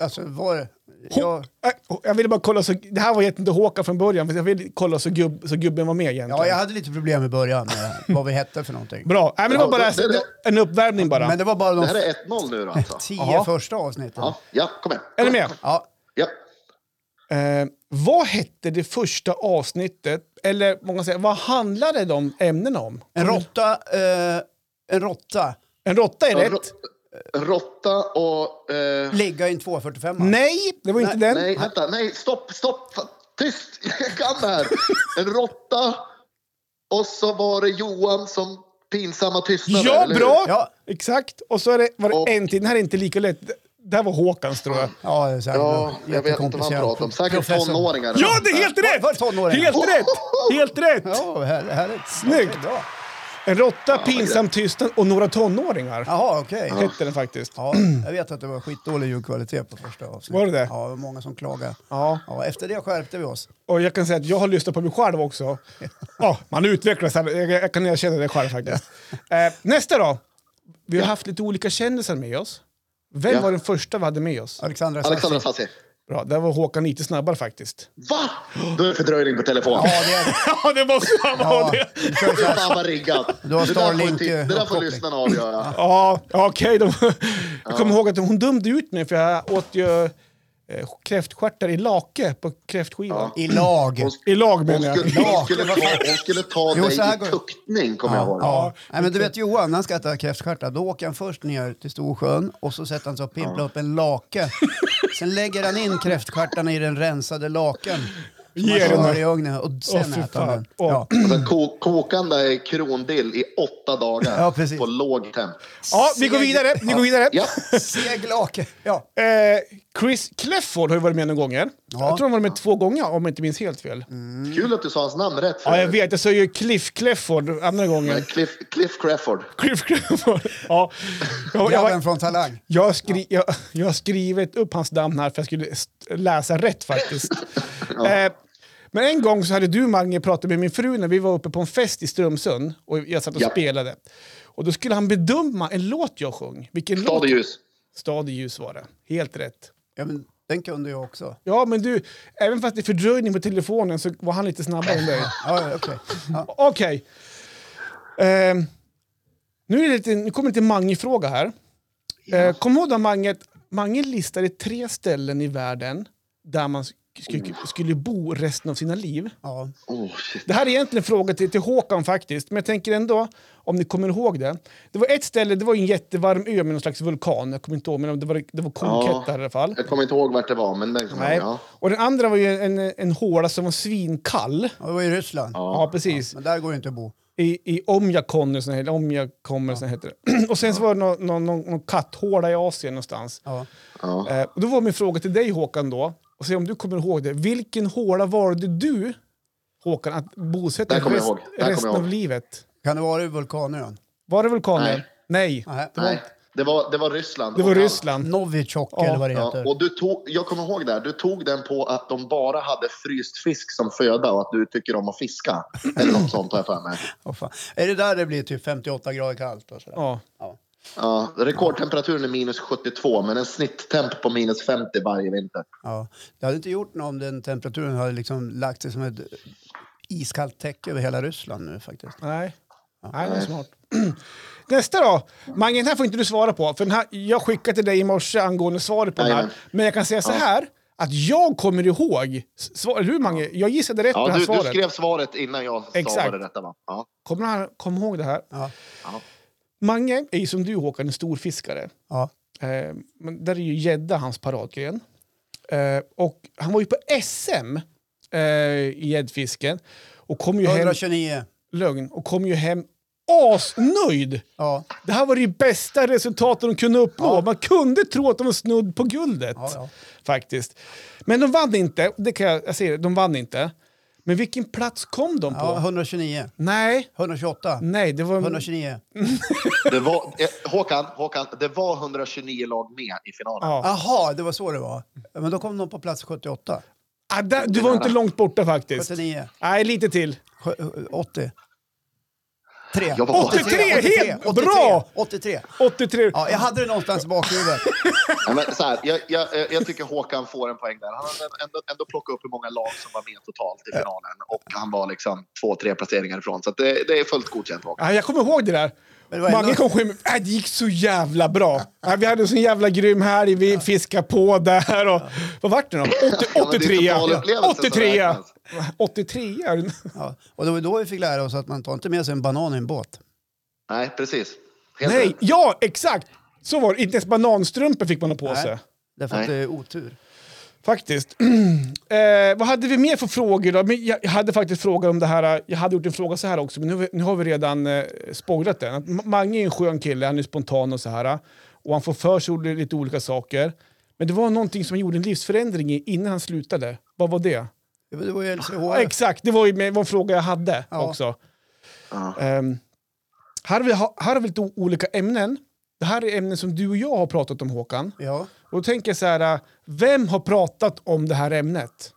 Speaker 1: Alltså, var,
Speaker 2: Ho-
Speaker 1: jag,
Speaker 2: Eh, Jag ville bara kolla så... Det här var egentligen inte Håkan från början, för jag ville kolla så, gubb, så gubben var med egentligen.
Speaker 1: ja, jag hade lite problem i början med vad vi hette för någonting.
Speaker 2: Bra! Nej, men det var
Speaker 3: Ja,
Speaker 2: bara
Speaker 3: det- det-
Speaker 2: en uppvärmning bara.
Speaker 1: Men det var bara
Speaker 3: Det
Speaker 1: de
Speaker 3: här är 1-0 nu då alltså?
Speaker 1: tio
Speaker 2: Jaha.
Speaker 1: första avsnitten. Ja.
Speaker 3: Ja, ja kom igen.
Speaker 2: Är ni med?
Speaker 1: Ja.
Speaker 3: Ja.
Speaker 2: Eh, vad hette det första avsnittet? Eller många säger, vad handlade de ämnena om?
Speaker 1: En råtta, eh, En råtta
Speaker 2: En råtta är
Speaker 3: Ja,
Speaker 2: rätt.
Speaker 3: rå- Råtta och... Eh,
Speaker 1: ligga i en 245.
Speaker 2: Nej, det var inte den.
Speaker 3: nej, vänta, nej, stopp, stopp, fa- tyst, <laughs> jag kan det här. En råtta och så var det Johan som pinsamma tystnader.
Speaker 2: Ja,
Speaker 3: eller hur?
Speaker 2: bra!
Speaker 1: Ja.
Speaker 2: Exakt. Och så är det, var det
Speaker 3: Och-
Speaker 2: en till. Den här är inte lika lätt. Det här var Håkans tror jag.
Speaker 1: Ja, det är säkert
Speaker 3: Ja, jag vet inte vad han pratar om. Säkert tonåringar.
Speaker 2: Ja, det är helt
Speaker 1: Var- var det
Speaker 2: rätt!
Speaker 1: tonåringen?
Speaker 2: Helt rätt! Helt rätt!
Speaker 1: Ja, här, här är
Speaker 2: Snyggt.
Speaker 1: Ja, bra.
Speaker 2: En råtta, pinsam tystnad och några tonåringar.
Speaker 1: Jaha, okej.
Speaker 2: Hette den faktiskt.
Speaker 1: Ja, jag vet att det var skitdålig ljudkvalitet på första avsnittet.
Speaker 2: Var det det?
Speaker 1: Ja, det var många som klagade.
Speaker 2: Ja.
Speaker 1: Ja, efter det skärpte vi oss.
Speaker 2: Och jag kan säga att jag har lyssnat på mig själv också. Ja, man utvecklas. här. Jag, jag kan erkänna det själv faktiskt. Eh, nästa då. Vi har haft lite olika kändisar med oss. Vem
Speaker 3: Ja.
Speaker 2: var den första vi hade med oss?
Speaker 1: Alexandra
Speaker 3: Alexandra
Speaker 1: Sassi.
Speaker 3: Sassi.
Speaker 2: Bra, där var Håkan lite snabbare faktiskt.
Speaker 3: Va? Då är det fördröjning på telefon.
Speaker 1: Ja, det är det.
Speaker 2: Ja, det måste han
Speaker 1: Ja,
Speaker 3: Fy fan vad riggat.
Speaker 1: Du har
Speaker 3: det där får,
Speaker 1: Starlink,
Speaker 3: ju ti- det
Speaker 1: eh,
Speaker 3: där får
Speaker 1: uppkoppling.
Speaker 3: lyssnarna avgöra.
Speaker 2: Ja, okej. de- Jag kommer ihåg att hon dömde ut mig för jag åt ju eh, kräftstjärtar i lake på kräftskivan.
Speaker 1: I lag.
Speaker 2: I lag
Speaker 3: Hon
Speaker 2: menar jag.
Speaker 3: skulle, hon skulle, ta, hon skulle ta
Speaker 1: Jo, så
Speaker 3: dig
Speaker 1: här
Speaker 3: i
Speaker 1: går-
Speaker 3: tuktning, kommer jag ihåg.
Speaker 1: Ja. Nej, men du vet Johan, när han ska äta kräftstjärtar, då åker han först ner till Storsjön och så sätter han sig och pimplar upp en lake. Sen lägger han in kräftstjärtarna i den rensade laken. Som
Speaker 2: Ger
Speaker 1: han
Speaker 2: den
Speaker 1: kör
Speaker 2: här.
Speaker 1: i ugnen och sen
Speaker 2: Åh, fy
Speaker 1: äter han
Speaker 2: fan.
Speaker 1: den.
Speaker 2: Åh.
Speaker 1: Ja.
Speaker 3: Och sen Alltså, ko- kokande i krondill i åtta dagar
Speaker 1: Ja, precis.
Speaker 3: på låg temp.
Speaker 2: Ja, vi går vidare. Vi går vidare.
Speaker 3: Ja.
Speaker 1: Seglake. Ja.
Speaker 2: Eh, Chris Clefford har ju varit med några gånger.
Speaker 1: Ja.
Speaker 2: Jag tror han var med två gånger om jag inte minns helt fel.
Speaker 3: Kul att du sa hans namn rätt. för
Speaker 2: Ja, jag
Speaker 3: övrigt.
Speaker 2: vet. Jag sa ju Cliff Clefford andra gången.
Speaker 3: Men Cliff, Cliff Crawford.
Speaker 2: Cliff Clefford. Ja. Jag, jag,
Speaker 1: Grabben
Speaker 2: var-
Speaker 1: från Talang.
Speaker 2: jag, har skri, jag, jag har skrivit upp hans namn här för jag skulle st- läsa rätt
Speaker 3: <laughs>
Speaker 2: faktiskt. eh, men en gång så hade du, Mange, pratat med min fru när vi var uppe på en fest i Strömsund och jag satt och
Speaker 3: Ja.
Speaker 2: spelade. Och då skulle han bedöma en låt jag sjöng. Vilken
Speaker 3: Stad och
Speaker 2: låt?
Speaker 3: ljus.
Speaker 2: Stad i ljus var det. Helt rätt.
Speaker 1: Ja, men den kunde jag också.
Speaker 2: Ja, men du, även fast det är fördröjning på telefonen så var han lite snabbare än dig.
Speaker 1: Ja, okej. Ja.
Speaker 2: Okej. Ehm, nu, är det lite, nu kommer det en Mange-fråga här. Eh, kom ihåg då, Mange, att Mange listade tre ställen i världen där man sk-
Speaker 3: Mm.
Speaker 2: sk- skulle bo resten av sina liv.
Speaker 1: Ja.
Speaker 3: Oh, shit.
Speaker 2: Det här är egentligen en fråga till, till Håkan faktiskt, men jag tänker ändå, om ni kommer ihåg det. Det var ett ställe, det var en jättevarm ö med någon slags vulkan, jag kommer inte ihåg, men det var, det var
Speaker 3: Ja.
Speaker 2: kokhett där i alla fall.
Speaker 3: Jag kommer inte ihåg vart det var, men den kommer
Speaker 2: Nej.
Speaker 3: jag ihåg.
Speaker 2: Och den andra var ju en, en, en håla som var svinkall.
Speaker 1: Och det var i Ryssland.
Speaker 2: Ja, precis.
Speaker 1: Men där går det inte att bo.
Speaker 2: I, i Omjakon, eller sån här- eller Omjakom, eller sån heter det. <clears throat> Och sen så var det någon, någon, någon, någon katthåla i Asien någonstans.
Speaker 1: Ja.
Speaker 3: Ja.
Speaker 2: Eh, och då var min fråga till dig Håkan då, och se om du kommer ihåg det. Vilken håla valde du, Håkan, att bosätta
Speaker 3: Där
Speaker 2: dig
Speaker 3: kommer jag
Speaker 2: rest,
Speaker 3: ihåg. Där kommer jag
Speaker 2: resten
Speaker 3: ihåg.
Speaker 2: av livet?
Speaker 1: Kan det vara i vulkanön?
Speaker 2: Var det vulkanen? Nej.
Speaker 3: Nej.
Speaker 1: Nej.
Speaker 3: Ja. Nej, det var, det var Ryssland.
Speaker 2: Det var
Speaker 3: Och-
Speaker 2: Ryssland.
Speaker 1: Novichok
Speaker 2: Ja.
Speaker 1: eller vad det
Speaker 3: Ja,
Speaker 1: heter.
Speaker 3: och du tog, jag kommer ihåg där, du tog den på att de bara hade fryst fisk som föda och att du tycker om att fiska. Eller något sånt har jag för mig.
Speaker 1: Åh, fan. Är det där det blir typ 58 grader kallt? Och sådär?
Speaker 2: Ja.
Speaker 1: Ja.
Speaker 3: Ja, rekordtemperaturen är minus 72, men en snitttemp på minus 50 varje vinter.
Speaker 1: Ja. Det hade inte gjort något om den temperaturen hade liksom lagt sig som ett iskallt täcke över hela Ryssland nu faktiskt.
Speaker 2: Nej. Nej, det var smart. <clears throat> Nästa då. Mange, den här får inte du svara på. För den här, jag skickade till dig i morse angående svaret på den här.
Speaker 3: Jajamän.
Speaker 2: Men jag kan säga så här. Att jag kommer ihåg... Svar, du Mange, jag gissade rätt på det
Speaker 3: Ja,
Speaker 2: här
Speaker 3: du, du
Speaker 2: svaret.
Speaker 3: skrev svaret innan jag sa
Speaker 2: Exakt.
Speaker 3: vad det rätta var. Ja.
Speaker 2: Kommer han kom ihåg det här?
Speaker 1: Ja.
Speaker 3: Ja.
Speaker 2: Mange är ju som du Håkan en stor fiskare.
Speaker 1: Ja.
Speaker 2: Eh, men där är ju gädda hans paradgren. Eh, och han var ju på SM eh, i gäddfisken. Och kom ju hem...
Speaker 1: 129.
Speaker 2: Lögn. Och kom ju hem asnöjd!
Speaker 1: Ja.
Speaker 2: Det här var det ju bästa resultatet de kunde uppnå. Man kunde tro att de var snudd på guldet.
Speaker 1: Ja, ja.
Speaker 2: Faktiskt. Men de vann inte. Det kan jag, jag säger det, de vann inte. Men vilken plats kom de på?
Speaker 1: ja, 129.
Speaker 2: Nej,
Speaker 1: 128.
Speaker 2: nej, det var...
Speaker 1: 129.
Speaker 3: Det var, eh, Håkan, Håkan, det var 129 lag med i finalen.
Speaker 2: Ja.
Speaker 1: Aha, det var så det var. Men då kom någon på plats 78.
Speaker 2: Ah, där, du var inte långt borta faktiskt.
Speaker 1: 79.
Speaker 2: Nej, lite till.
Speaker 1: Sj- 80. 3.
Speaker 3: Jag var-
Speaker 2: 83, helt bra!
Speaker 1: 83.
Speaker 2: 83.
Speaker 1: Ja, jag hade det någonstans i bakhuvudet.
Speaker 3: Ja, men så här, jag, jag, eh, jag tycker Håkan får en poäng där. Han hade ändå, ändå plockat upp hur många lag som var med totalt i finalen och han var liksom två, tre placeringar ifrån. Så att det, det är fullt godkänt Håkan.
Speaker 2: Ah, jag kommer ihåg det där.
Speaker 1: Men det var ändå-
Speaker 2: Mange kom hem. Äh, det gick så jävla bra. Ah, vi hade en sån jävla grym helg. Vi fiskade på där. Och, vad vart det då? 80,
Speaker 3: Ja, men det är
Speaker 2: 83.
Speaker 3: totalupplevelsen som
Speaker 2: 83.
Speaker 3: räknas.
Speaker 2: 83.
Speaker 1: Ja. Och det var då vi fick lära oss att man tar inte med sig en banan i en båt.
Speaker 3: Nej, precis. Heter
Speaker 2: Nej,
Speaker 3: det?
Speaker 2: ja exakt! Så var det. Inte ens bananstrumpor fick man ha på
Speaker 1: Nej.
Speaker 2: sig.
Speaker 1: Därför att
Speaker 3: Nej.
Speaker 1: det är otur.
Speaker 2: Faktiskt. <clears throat> eh, vad hade vi mer för frågor då? Men jag jag hade faktiskt frågor om det här. eh, Jag hade gjort en fråga så här också, men nu, har vi- nu har vi redan eh, spoilat den. Att M- Mange är en skön kille, han är spontan och så här. Och han får för sig ol- lite olika saker. Men det var någonting som gjorde en livsförändring i- innan han slutade. Vad var det?
Speaker 1: Det var ju
Speaker 2: Ja,
Speaker 1: LCHF.
Speaker 2: exakt, det var, ju, det var en fråga jag hade
Speaker 1: Ja.
Speaker 2: också.
Speaker 3: Ja.
Speaker 2: Ehm, här, har vi, ha- här har vi lite o- olika ämnen. Det här är ämnen som du och jag har pratat om, Håkan.
Speaker 1: Ja.
Speaker 2: Och då tänker jag så här, eh, vem har pratat om det här ämnet?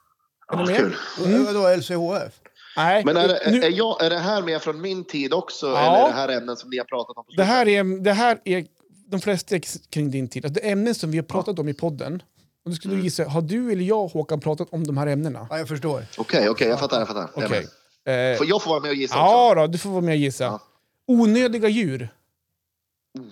Speaker 2: Är
Speaker 3: Ja,
Speaker 2: ni med?
Speaker 3: Ah, kul.
Speaker 1: Mm. Vadå LCHF?
Speaker 2: Nej,
Speaker 3: Men är, det-
Speaker 2: nu,
Speaker 3: är, jag, är det här med från min tid också?
Speaker 2: Ja.
Speaker 3: Eller är det här ämnen som ni har pratat om? På
Speaker 2: det,
Speaker 3: slutet?
Speaker 2: här är, det här är de flesta är kring din tid. Alltså, det är ämnen som vi har pratat om i podden. Om du skulle
Speaker 3: Mm.
Speaker 2: gissa, har du eller jag Håkan pratat om de här ämnena?
Speaker 1: Ja, jag förstår.
Speaker 3: Okej, okej, jag fattar. Jag fattar. Jag är
Speaker 2: Okej.
Speaker 3: med.
Speaker 2: Eh,
Speaker 3: Får jag få vara med och gissa
Speaker 2: ja då, du får vara med och gissa.
Speaker 3: Ja.
Speaker 2: Onödiga djur.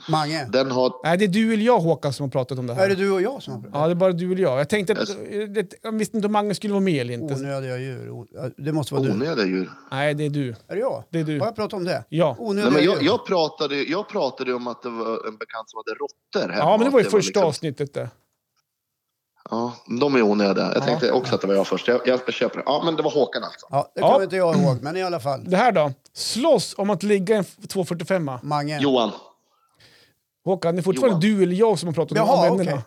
Speaker 1: Mange.
Speaker 3: också? Den har...
Speaker 2: Nej, det är du eller jag Håkan som har pratat om det här.
Speaker 1: Är det du Alltså- och jag som har pratat?
Speaker 2: Ja, det är bara du eller jag. Jag tänkte att
Speaker 3: Yes.
Speaker 2: eh, det, jag visste inte om Mange skulle vara med eller inte.
Speaker 1: Onödiga djur. O- ja, Det måste vara du.
Speaker 3: Onödiga djur.
Speaker 2: Nej, det är du.
Speaker 1: Är det jag?
Speaker 2: Det är du.
Speaker 1: Har jag pratat om det?
Speaker 2: Ja.
Speaker 1: Onödiga
Speaker 3: Nej, men jag,
Speaker 1: djur.
Speaker 3: jag, pratade, ju- jag pratade ju om att det var en bekant som hade råttor hemma.
Speaker 2: Ja, men det var ju
Speaker 3: Att
Speaker 2: första
Speaker 3: liksom-
Speaker 2: avsnittet det.
Speaker 3: Ja, de är onödiga. Jag
Speaker 2: Ja.
Speaker 3: tänkte också att det var jag först. Jag, jag köper det. Ja, men det var Håkan alltså.
Speaker 1: Ja, det
Speaker 2: Ja.
Speaker 1: kommer inte jag ihåg, men i alla fall.
Speaker 2: Det här då? Slåss om att ligga en f- 245
Speaker 1: Mange.
Speaker 3: Johan.
Speaker 2: Håkan, det är fortfarande du eller jag som har pratat
Speaker 1: Jaha,
Speaker 2: om
Speaker 1: okej.
Speaker 2: ämnena.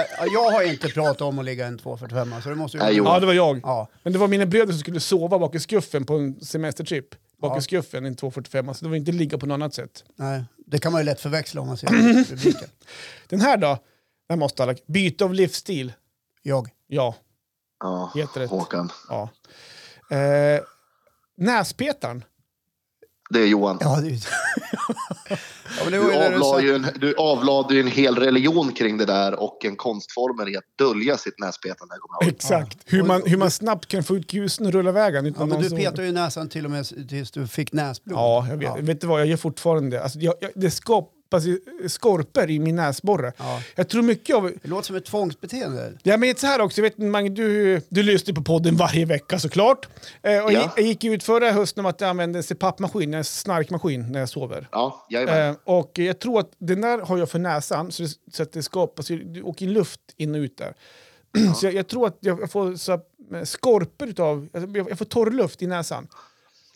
Speaker 1: Eh, jag har inte pratat om att ligga en 245 så det måste ju...
Speaker 3: Nej, Johan.
Speaker 2: Ja, det var jag.
Speaker 1: Ja.
Speaker 2: Men det var mina bröder som skulle sova bak i skuffen på en semestertrip. Bak i skuffen, en 245 så det var inte ligga på något annat sätt.
Speaker 1: Nej, det kan man ju lätt förväxla om man ser rubriken.
Speaker 2: Den här då? Den måste alla... Byte av livsstil.
Speaker 1: Jag.
Speaker 2: Ja.
Speaker 3: Ja,
Speaker 2: Helt rätt.
Speaker 3: Håkan.
Speaker 2: ja. Eh, näspetaren.
Speaker 3: Det är Johan.
Speaker 1: Ja, det är ju... ja, men det var ju
Speaker 3: Du
Speaker 1: när du
Speaker 3: avlade,
Speaker 1: satt...
Speaker 3: ju en, du avlade ju en hel religion kring det där och en konstform i att dölja sitt näspetande. kommer jag ihåg.
Speaker 2: Exakt. Hur, man, hur man snabbt kan få ut kusen och rulla vägen.
Speaker 1: Ja,
Speaker 2: Utan
Speaker 1: men
Speaker 2: någon
Speaker 1: du
Speaker 2: som-
Speaker 1: petade ju näsan till och med s- tills du fick näsblod.
Speaker 2: Ja, jag vet. Vet du vad, jag gör fortfarande det. Alltså, jag, jag, det skapas ju skorpor i min näsborre.
Speaker 1: Ja.
Speaker 2: Jag tror mycket av...
Speaker 1: Det låter som ett tvångsbeteende.
Speaker 2: Ja, men så här också, jag vet, inte, Mange, du, du lyssnar på podden varje vecka såklart. Eh, och
Speaker 3: Ja.
Speaker 2: jag, jag gick ju ut förra hösten om att jag använde en CPAP-maskin, en snarkmaskin, när jag sover.
Speaker 3: Ja, jajamän.
Speaker 2: Eh, och jag tror att den där har jag för näsan, så, det, så att det skapas ju, det åker in luft in och ut där. <clears throat> Så jag, jag tror att jag får så här, skorpor utav, jag, jag får torrluft i näsan.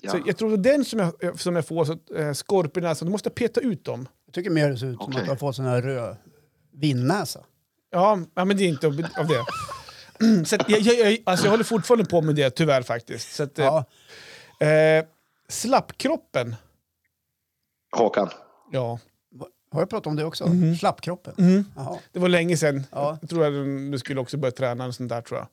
Speaker 3: ja.
Speaker 2: Så jag tror att den som jag, som jag får, så att, eh, skorpor i näsan, då måste jag peta ut dem.
Speaker 1: Jag tycker mer det ser ut som
Speaker 3: Okej.
Speaker 1: att du har fått sån här röd vinnäsa.
Speaker 2: Ja, ja men det är inte av av det. <clears throat> Så att jag, jag, jag, alltså jag håller fortfarande på med det, tyvärr faktiskt. Så att, eh,
Speaker 1: Ja,
Speaker 2: eh, slappkroppen.
Speaker 3: Håkan.
Speaker 2: Ja,
Speaker 1: har jag pratat om det också? Slappkroppen? Jaha.
Speaker 2: det var länge sedan.
Speaker 1: Ja.
Speaker 2: Jag tror att du skulle också börja träna och sånt där
Speaker 1: <laughs>
Speaker 2: tror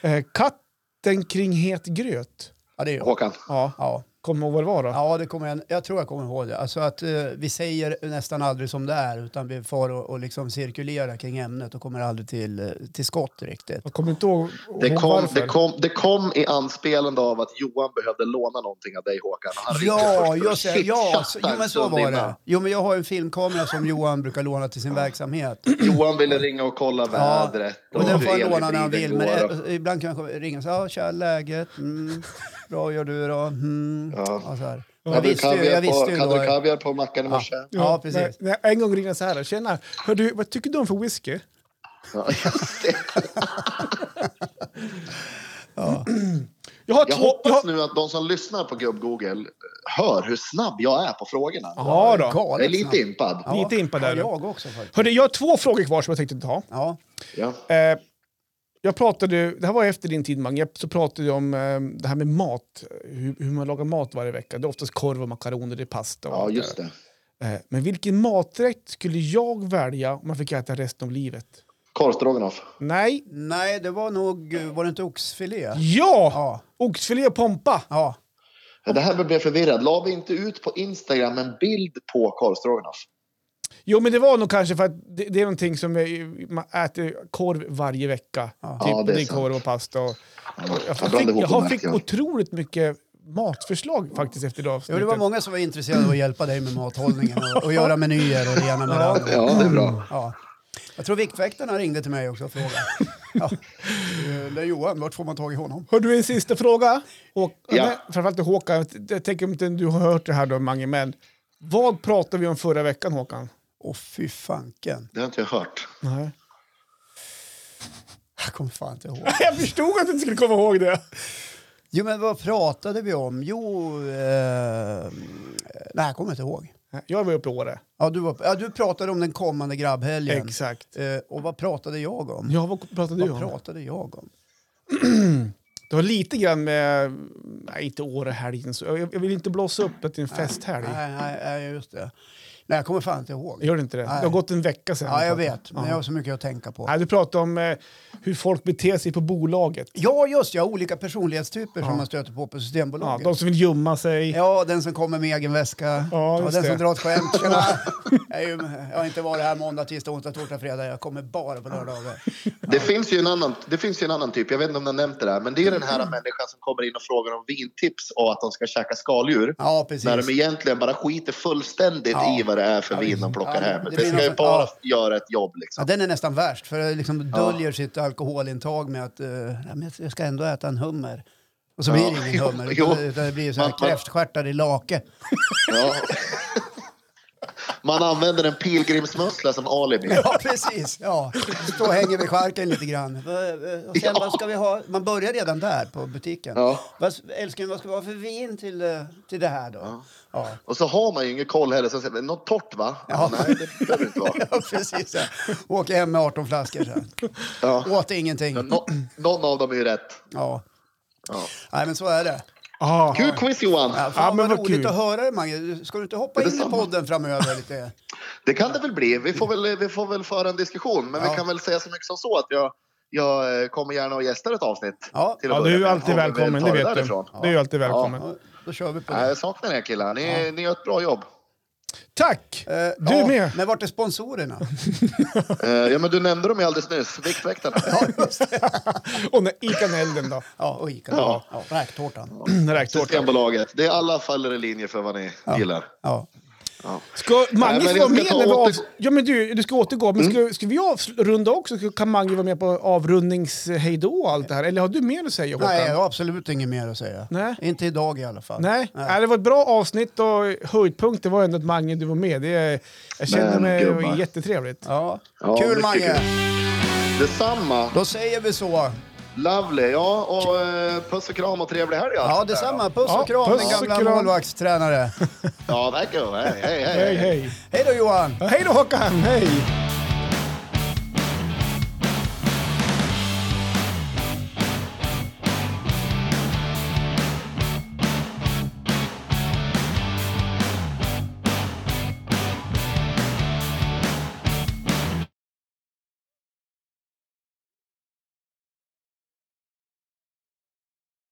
Speaker 2: jag. eh, katten kring het gröt.
Speaker 1: Ja, det är jag.
Speaker 3: Håkan.
Speaker 2: Ja,
Speaker 1: Ja.
Speaker 2: kommer ihåg vad det var då?
Speaker 1: Ja, det kommer jag, jag tror jag kommer ihåg det. Alltså att eh, vi säger nästan aldrig som det är utan vi far och, och liksom cirkulerar kring ämnet och kommer aldrig till, eh, till skott riktigt.
Speaker 2: Jag kommer inte ihåg
Speaker 3: Det
Speaker 2: ihåg
Speaker 3: kom,
Speaker 2: varför.
Speaker 3: det, kom, det kom i anspelande av att Johan behövde låna någonting av dig Håkan. Han ringde
Speaker 1: Ja,
Speaker 3: först för att
Speaker 1: just det.
Speaker 3: shit, alltså,
Speaker 1: Ja, så, jo,
Speaker 3: chatta en
Speaker 1: men så
Speaker 3: stund
Speaker 1: var
Speaker 3: innan.
Speaker 1: det. Jo, men jag har en filmkamera som Johan brukar låna till sin verksamhet.
Speaker 3: Johan ville ringa och kolla vädret.
Speaker 1: Och den
Speaker 3: hur
Speaker 1: får han låna när han
Speaker 3: elbilen
Speaker 1: vill. Men
Speaker 3: går.
Speaker 1: det, ibland kan han komma- ringa och säga ja, “Tja, läget? Mm. Bra, gör du då?” mm.
Speaker 3: Ja.
Speaker 1: ja, så här. Jag
Speaker 3: Hade du
Speaker 1: visste ju, jag
Speaker 3: kaviar
Speaker 1: visste
Speaker 3: på-
Speaker 1: ju
Speaker 3: hade du
Speaker 1: då...
Speaker 3: kaviar på mackan
Speaker 1: <laughs>
Speaker 3: i morse?
Speaker 1: Ja, precis.
Speaker 2: men- en gång ringde jag så här. Tjena, hör du, vad tycker du om för whisky?
Speaker 3: Ja, just det.
Speaker 2: Jag har
Speaker 3: Jag
Speaker 2: två... Jag har,
Speaker 3: hoppas nu att de som lyssnar på Gubb-Google eh, hör hur snabb jag är på frågorna.
Speaker 2: ja, då.
Speaker 1: Galet
Speaker 3: Jag är lite
Speaker 1: snabbt.
Speaker 3: impad.
Speaker 1: Ja,
Speaker 2: Lite impad där,
Speaker 1: ja,
Speaker 2: du.
Speaker 1: Jag också faktiskt.
Speaker 2: Hörde, jag har två frågor kvar som jag tänkte ta.
Speaker 1: Ja.
Speaker 3: Ja.
Speaker 2: Eh, jag pratade, det här var efter din tid Mange, så pratade jag om eh, det här med mat. Hur, hur man lagar mat varje vecka. Det är oftast korv och makaroner, det är pasta och
Speaker 3: ja,
Speaker 2: allt
Speaker 3: just
Speaker 2: där.
Speaker 3: det.
Speaker 2: Eh, men vilken maträtt skulle jag välja om man fick äta resten av livet?
Speaker 3: Korvstroganoff.
Speaker 2: Nej.
Speaker 1: Nej, det var nog... eh, Var det inte oxfilé?
Speaker 2: Ja!
Speaker 1: Ja.
Speaker 2: Oxfilé och pompa.
Speaker 1: Ja.
Speaker 3: Det här blev jag förvirrad. La vi inte ut på Instagram en bild på korvstroganoff?
Speaker 2: Jo, men det var nog kanske för att det, det är någonting som vi, man äter korv varje vecka. Typ
Speaker 3: Ja, det är
Speaker 2: det är
Speaker 3: sant.
Speaker 2: korv och pasta. Och, jag
Speaker 3: jag blandade
Speaker 2: fick,
Speaker 3: ihop
Speaker 2: jag
Speaker 3: de
Speaker 2: har
Speaker 3: här
Speaker 2: fick
Speaker 3: grejerna.
Speaker 2: otroligt mycket matförslag faktiskt efter det
Speaker 1: Jo,
Speaker 2: avsnittet.
Speaker 1: det var många som var intresserade av att hjälpa dig med mathållningen och, och göra menyer och det ena med det andra.
Speaker 3: Ja, det är bra.
Speaker 1: Ja. Jag tror Viktväktarna ringde till mig också och frågade. Ja. eh, lilla Johan, vart får man tag i honom?
Speaker 2: Har du en sista fråga? Och,
Speaker 3: Ja.
Speaker 2: nej, framförallt till Håkan. Jag tänker om inte du har hört det här då, Mange, men vad pratade vi om förra veckan, Håkan?
Speaker 1: Åh fy fanken.
Speaker 3: Det har inte jag hört.
Speaker 2: Nej.
Speaker 1: Jag kommer fan inte ihåg.
Speaker 2: Jag förstod att du inte skulle komma ihåg det.
Speaker 1: Jo men vad pratade vi om? Jo, eh, nej jag kommer inte ihåg.
Speaker 2: Jag var uppe i Åre.
Speaker 1: Ja du, var, ja, du pratade om den kommande grabbhelgen.
Speaker 2: Exakt.
Speaker 1: Eh, och vad pratade jag om?
Speaker 2: Ja, vad pratade du
Speaker 1: vad
Speaker 2: om?
Speaker 1: pratade jag om?
Speaker 2: Det var lite grann med, nej inte Årehelgen, så- jag, jag vill inte blåsa upp att det är en festhelg.
Speaker 1: Nej, nej, nej, just det. Nej, jag kommer fan inte ihåg.
Speaker 2: Gör det inte det?
Speaker 1: Nej.
Speaker 2: Det har gått en vecka sedan.
Speaker 1: Ja,
Speaker 2: vi
Speaker 1: jag
Speaker 2: pratade.
Speaker 1: vet, men jag har så mycket att tänka på.
Speaker 2: Nej, du pratade om eh, hur folk beter sig på bolaget.
Speaker 1: Ja, just ja, olika personlighetstyper
Speaker 2: Ja.
Speaker 1: som man stöter på på
Speaker 2: Ja,
Speaker 1: Systembolaget.
Speaker 2: de som vill gömma sig.
Speaker 1: Ja, den som kommer med egen väska.
Speaker 2: Ja, just
Speaker 1: den
Speaker 2: det.
Speaker 1: som drar ett skämt.
Speaker 2: <laughs>
Speaker 1: Tjena. Jag, är ju, jag har inte varit här måndag, tisdag, onsdag, torsdag, fredag. Jag kommer bara på lördagar.
Speaker 3: Det finns ju en annan, det finns ju en annan typ, jag vet inte om ni har nämnt det där, men det är den
Speaker 1: Mm.
Speaker 3: här människan som kommer in och frågar om vintips och att de ska käka skaldjur.
Speaker 1: Ja, precis.
Speaker 3: När de egentligen bara skiter fullständigt
Speaker 1: Ja.
Speaker 3: i vad det är för
Speaker 1: Ja,
Speaker 3: vin de plockar
Speaker 1: ja, det-
Speaker 3: hem.
Speaker 1: det
Speaker 3: Det,
Speaker 1: blir
Speaker 3: ska ju
Speaker 1: någon-
Speaker 3: bara
Speaker 1: ja.
Speaker 3: göra ett jobb
Speaker 1: Ja,
Speaker 3: liksom.
Speaker 1: den är nästan värst, för det liksom
Speaker 3: Ja.
Speaker 1: döljer sitt alkoholintag med att eh, "Nej, men jag ska ändå äta en hummer. Och så
Speaker 3: Ja,
Speaker 1: blir det ingen
Speaker 3: <laughs> jo,
Speaker 1: hummer,
Speaker 3: jo.
Speaker 1: utan det- utan det blir så här
Speaker 3: Man- man-
Speaker 1: kräftstjärtar i lake.
Speaker 3: Ja. <laughs> Man använder en pilgrimsmussla som alibi.
Speaker 1: <laughs> Ja, precis. Ja. Stå och hänger vid skärken lite grann. Eh, Och sen, vad ska vi ha? Man börjar redan där på butiken.
Speaker 3: Ja.
Speaker 1: Vad, älskling, vad ska vi ha för vin till, eh, till det här då? Ja, ja.
Speaker 3: Och så har man ju ingen koll heller. Så säger man, något torrt va?
Speaker 1: Ja.
Speaker 3: Ja. Nej, det behöver det inte vara.
Speaker 1: precis. <laughs> Ja. Åka hem med 18 flaskor sen.
Speaker 3: Ja.
Speaker 1: Åt ingenting.
Speaker 3: Men nå- någon av dem är ju rätt.
Speaker 1: Ja.
Speaker 3: Ja.
Speaker 1: Nej, men så är det.
Speaker 2: Ja.
Speaker 3: Kul quiz Johan!
Speaker 1: Ja,
Speaker 2: Ja,
Speaker 1: fan,
Speaker 2: men
Speaker 1: vad
Speaker 2: vad
Speaker 1: roligt
Speaker 2: kul.
Speaker 1: att höra det, Mange. Ska du inte hoppa
Speaker 3: Det är
Speaker 1: in i
Speaker 3: detsamma.
Speaker 1: podden framöver
Speaker 2: <laughs>
Speaker 1: lite?
Speaker 3: Det kan det väl bli. Vi får väl, vi får väl föra en diskussion. Men
Speaker 1: Ja.
Speaker 3: vi kan väl säga så mycket som så att jag, jag eh, kommer gärna och gästar ett avsnitt.
Speaker 1: Ja.
Speaker 3: till att
Speaker 2: Ja,
Speaker 3: börja
Speaker 2: du är
Speaker 3: med.
Speaker 2: alltid
Speaker 3: Kommer väl
Speaker 2: välkommen,
Speaker 3: ta
Speaker 2: det
Speaker 3: det
Speaker 2: vet du.
Speaker 3: därifrån.
Speaker 2: Du är alltid välkommen.
Speaker 1: Ja, då kör vi på
Speaker 3: Nej,
Speaker 1: det.
Speaker 3: Jag saknar er killar. Ni, ni gör ett bra jobb.
Speaker 2: Tack!
Speaker 1: Eh,
Speaker 2: Du är
Speaker 1: ja,
Speaker 2: med.
Speaker 1: Men vart är sponsorerna?
Speaker 3: Eh, ja, men du nämnde dem ju alldeles nyss. Viktväktarna.
Speaker 2: Och när Ica
Speaker 1: <clears throat>
Speaker 2: Nelden då?
Speaker 1: Ja, och Ica. Ja.
Speaker 3: Ja.
Speaker 1: Ja, Räktårtan.
Speaker 2: Räktårta.
Speaker 3: <laughs> Systembolaget. Det är alla faller i linje för vad ni gillar.
Speaker 1: Ja.
Speaker 3: Ja.
Speaker 2: Ska Mange
Speaker 3: Nej, men
Speaker 2: få
Speaker 3: jag
Speaker 2: vara
Speaker 3: ska
Speaker 2: med
Speaker 3: ta
Speaker 2: när vi av...
Speaker 3: åter- Mm.
Speaker 2: Ja, men du, du ska återgå. Men ska, ska vi avrunda också? Ska- Kan Mange vara med på avrundningshejdå och allt det här? Eller har du mer att säga, Håkan?
Speaker 1: Nej, jag har absolut inget mer att säga.
Speaker 2: Nej.
Speaker 1: Inte idag i alla fall.
Speaker 2: Nej. Nej, det var ett bra avsnitt och höjdpunkten var ändå att Mange, du var med. Det, jag känner
Speaker 3: Men,
Speaker 2: mig
Speaker 3: gubbar.
Speaker 2: jättetrevligt.
Speaker 1: Ja.
Speaker 3: Ja,
Speaker 1: Kul
Speaker 3: mycket
Speaker 1: Mange!
Speaker 3: kul. Detsamma.
Speaker 1: Då säger vi så.
Speaker 3: Lovely. Ja, och eh, puss och kram och trevlig helg.
Speaker 1: Ja, detsamma. Puss
Speaker 2: Ja,
Speaker 1: och kram,
Speaker 2: puss
Speaker 1: din
Speaker 2: och
Speaker 1: gamla
Speaker 2: kram. <laughs>
Speaker 1: målvaktstränare.
Speaker 3: Ja, verkar Hej, hej, hej.
Speaker 2: Hej, hej.
Speaker 1: Hej då Johan!
Speaker 2: Ja, Hej då, Håkan! Hej!